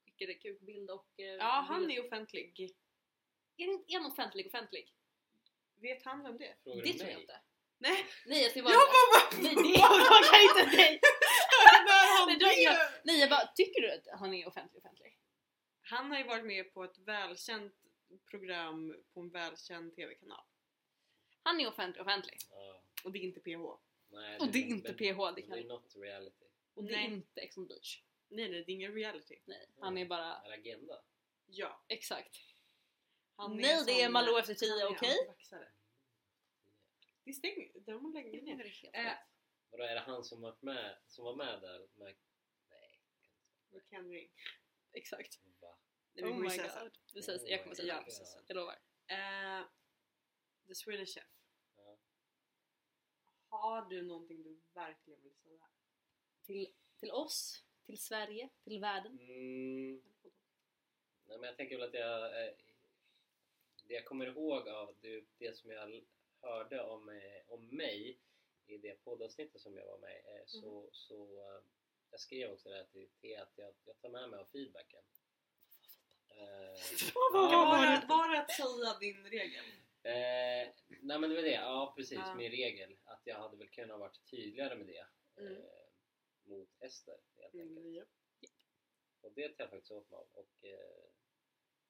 skickade kukbild och... eh, ja han bild- är offentlig. Är det inte en offentlig offentlig? Vet han vem det är? Frågar det du tror jag mig? inte. Nej! Nej alltså, jag ska Jag bara... bara Nej det frågar inte dig! När han Nej, det var blev- Nej jag bara, tycker du att han är offentlig offentlig? Han har ju varit med på ett välkänt program på en välkänd tv-kanal Han är offentlig offentlig. Ja, och det är inte PH. nej, Och det är inte PH, det Det kan är not reality. Och det är Nej. inte Ex on the beach. Nej nej det är ingen reality. Nej, han är bara... Är agenda? Ja. Exakt. han Nej en det är sån- Malou efter tio, Han är okej? antivaxxare. Det stänger, de har länge ner. Eh, Vadå, är det han som varit med, som var med där? Med, nej, med Ken Ring. Exakt. va? Nej, vi oh får ju my säga så. god. Vi säger, jag kommer säga Ja, det. Jag lovar. Eh, The Swedish Chef. Ja. Har du någonting du verkligen vill säga? till, till oss, till Sverige, till världen. Mm, nej, men jag tänker väl att jag... eh, Det jag kommer ihåg av det, det som jag l- hörde om, eh, om mig i det poddavsnittet som jag var med i, eh, så, så eh, jag skrev också det här till Thea att jag, jag tar med mig av feedbacken. Eh, Var, ja. det, var det att säga din regel? Eh, nej men det var det, ja precis, Ja. min regel. Att jag hade väl kunnat varit tydligare med det Mm. eh, mot Ester helt enkelt. Mm, ja. Och det tar jag faktiskt åt mig av och eh,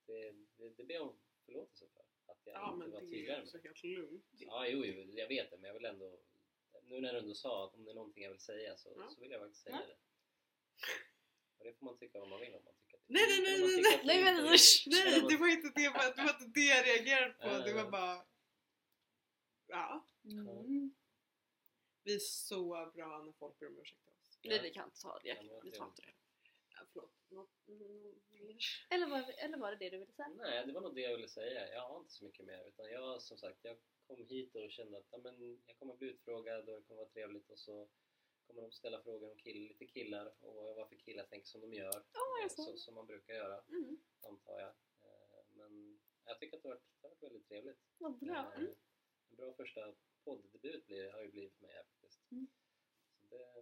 det, det, det ber jag om förlåtelse för. Att jag ja inte men var det är tydligare med också det. helt lugnt. Ja, jo, jo, jag vet det men jag vill ändå nu när du ändå sa att om det är någonting jag vill säga så, Ja. så vill jag faktiskt säga Ja. det. Och det får man tycka vad man vill om man tycker att det är Nej, fint, nej, eller nej, man nej, tycker nej, Nej att det inte men är- usch! Nej det var inte det, det, var inte det jag reagerade på. Det var bara... Ja. Mm. Vi är så bra när folk ber om ursäkt till oss. Nej vi kan inte ta det. Ja, men jag Vi tar inte det. Ja, förlåt. Nå- nå- mer? Eller var, eller var det det du ville säga? Nej, det var nog det jag ville säga. Jag har inte så mycket mer. Utan jag, som sagt, jag kom hit och kände att ja, men jag kommer bli utfrågad och det kommer vara trevligt och så kommer de ställa frågor om kill, lite killar och varför killar tänker som de gör. är eh, så? så, som man brukar göra, Mm. antar jag. Eh, Men jag tycker att det har varit, det har varit väldigt trevligt. Vad bra. Eh, En bra första poddebut blir, har ju blivit för mig här faktiskt. Mm. Så det,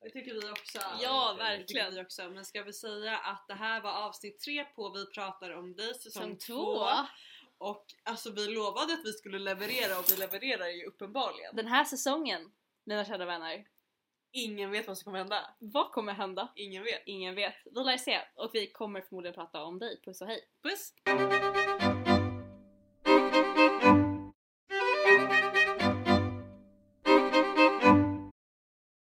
Det tycker vi också. Ja, Det tycker vi verkligen. också. Men ska vi säga att det här var avsnitt tre på Vi pratar om dig säsong Säsong två. två. Och alltså vi lovade att vi skulle leverera och vi levererar ju uppenbarligen. Den här säsongen, mina kära vänner. Ingen vet vad som kommer hända. Vad kommer hända? Ingen vet. Ingen vet. Vi lär se. Och vi kommer förmodligen prata om dig. Puss och hej. Puss!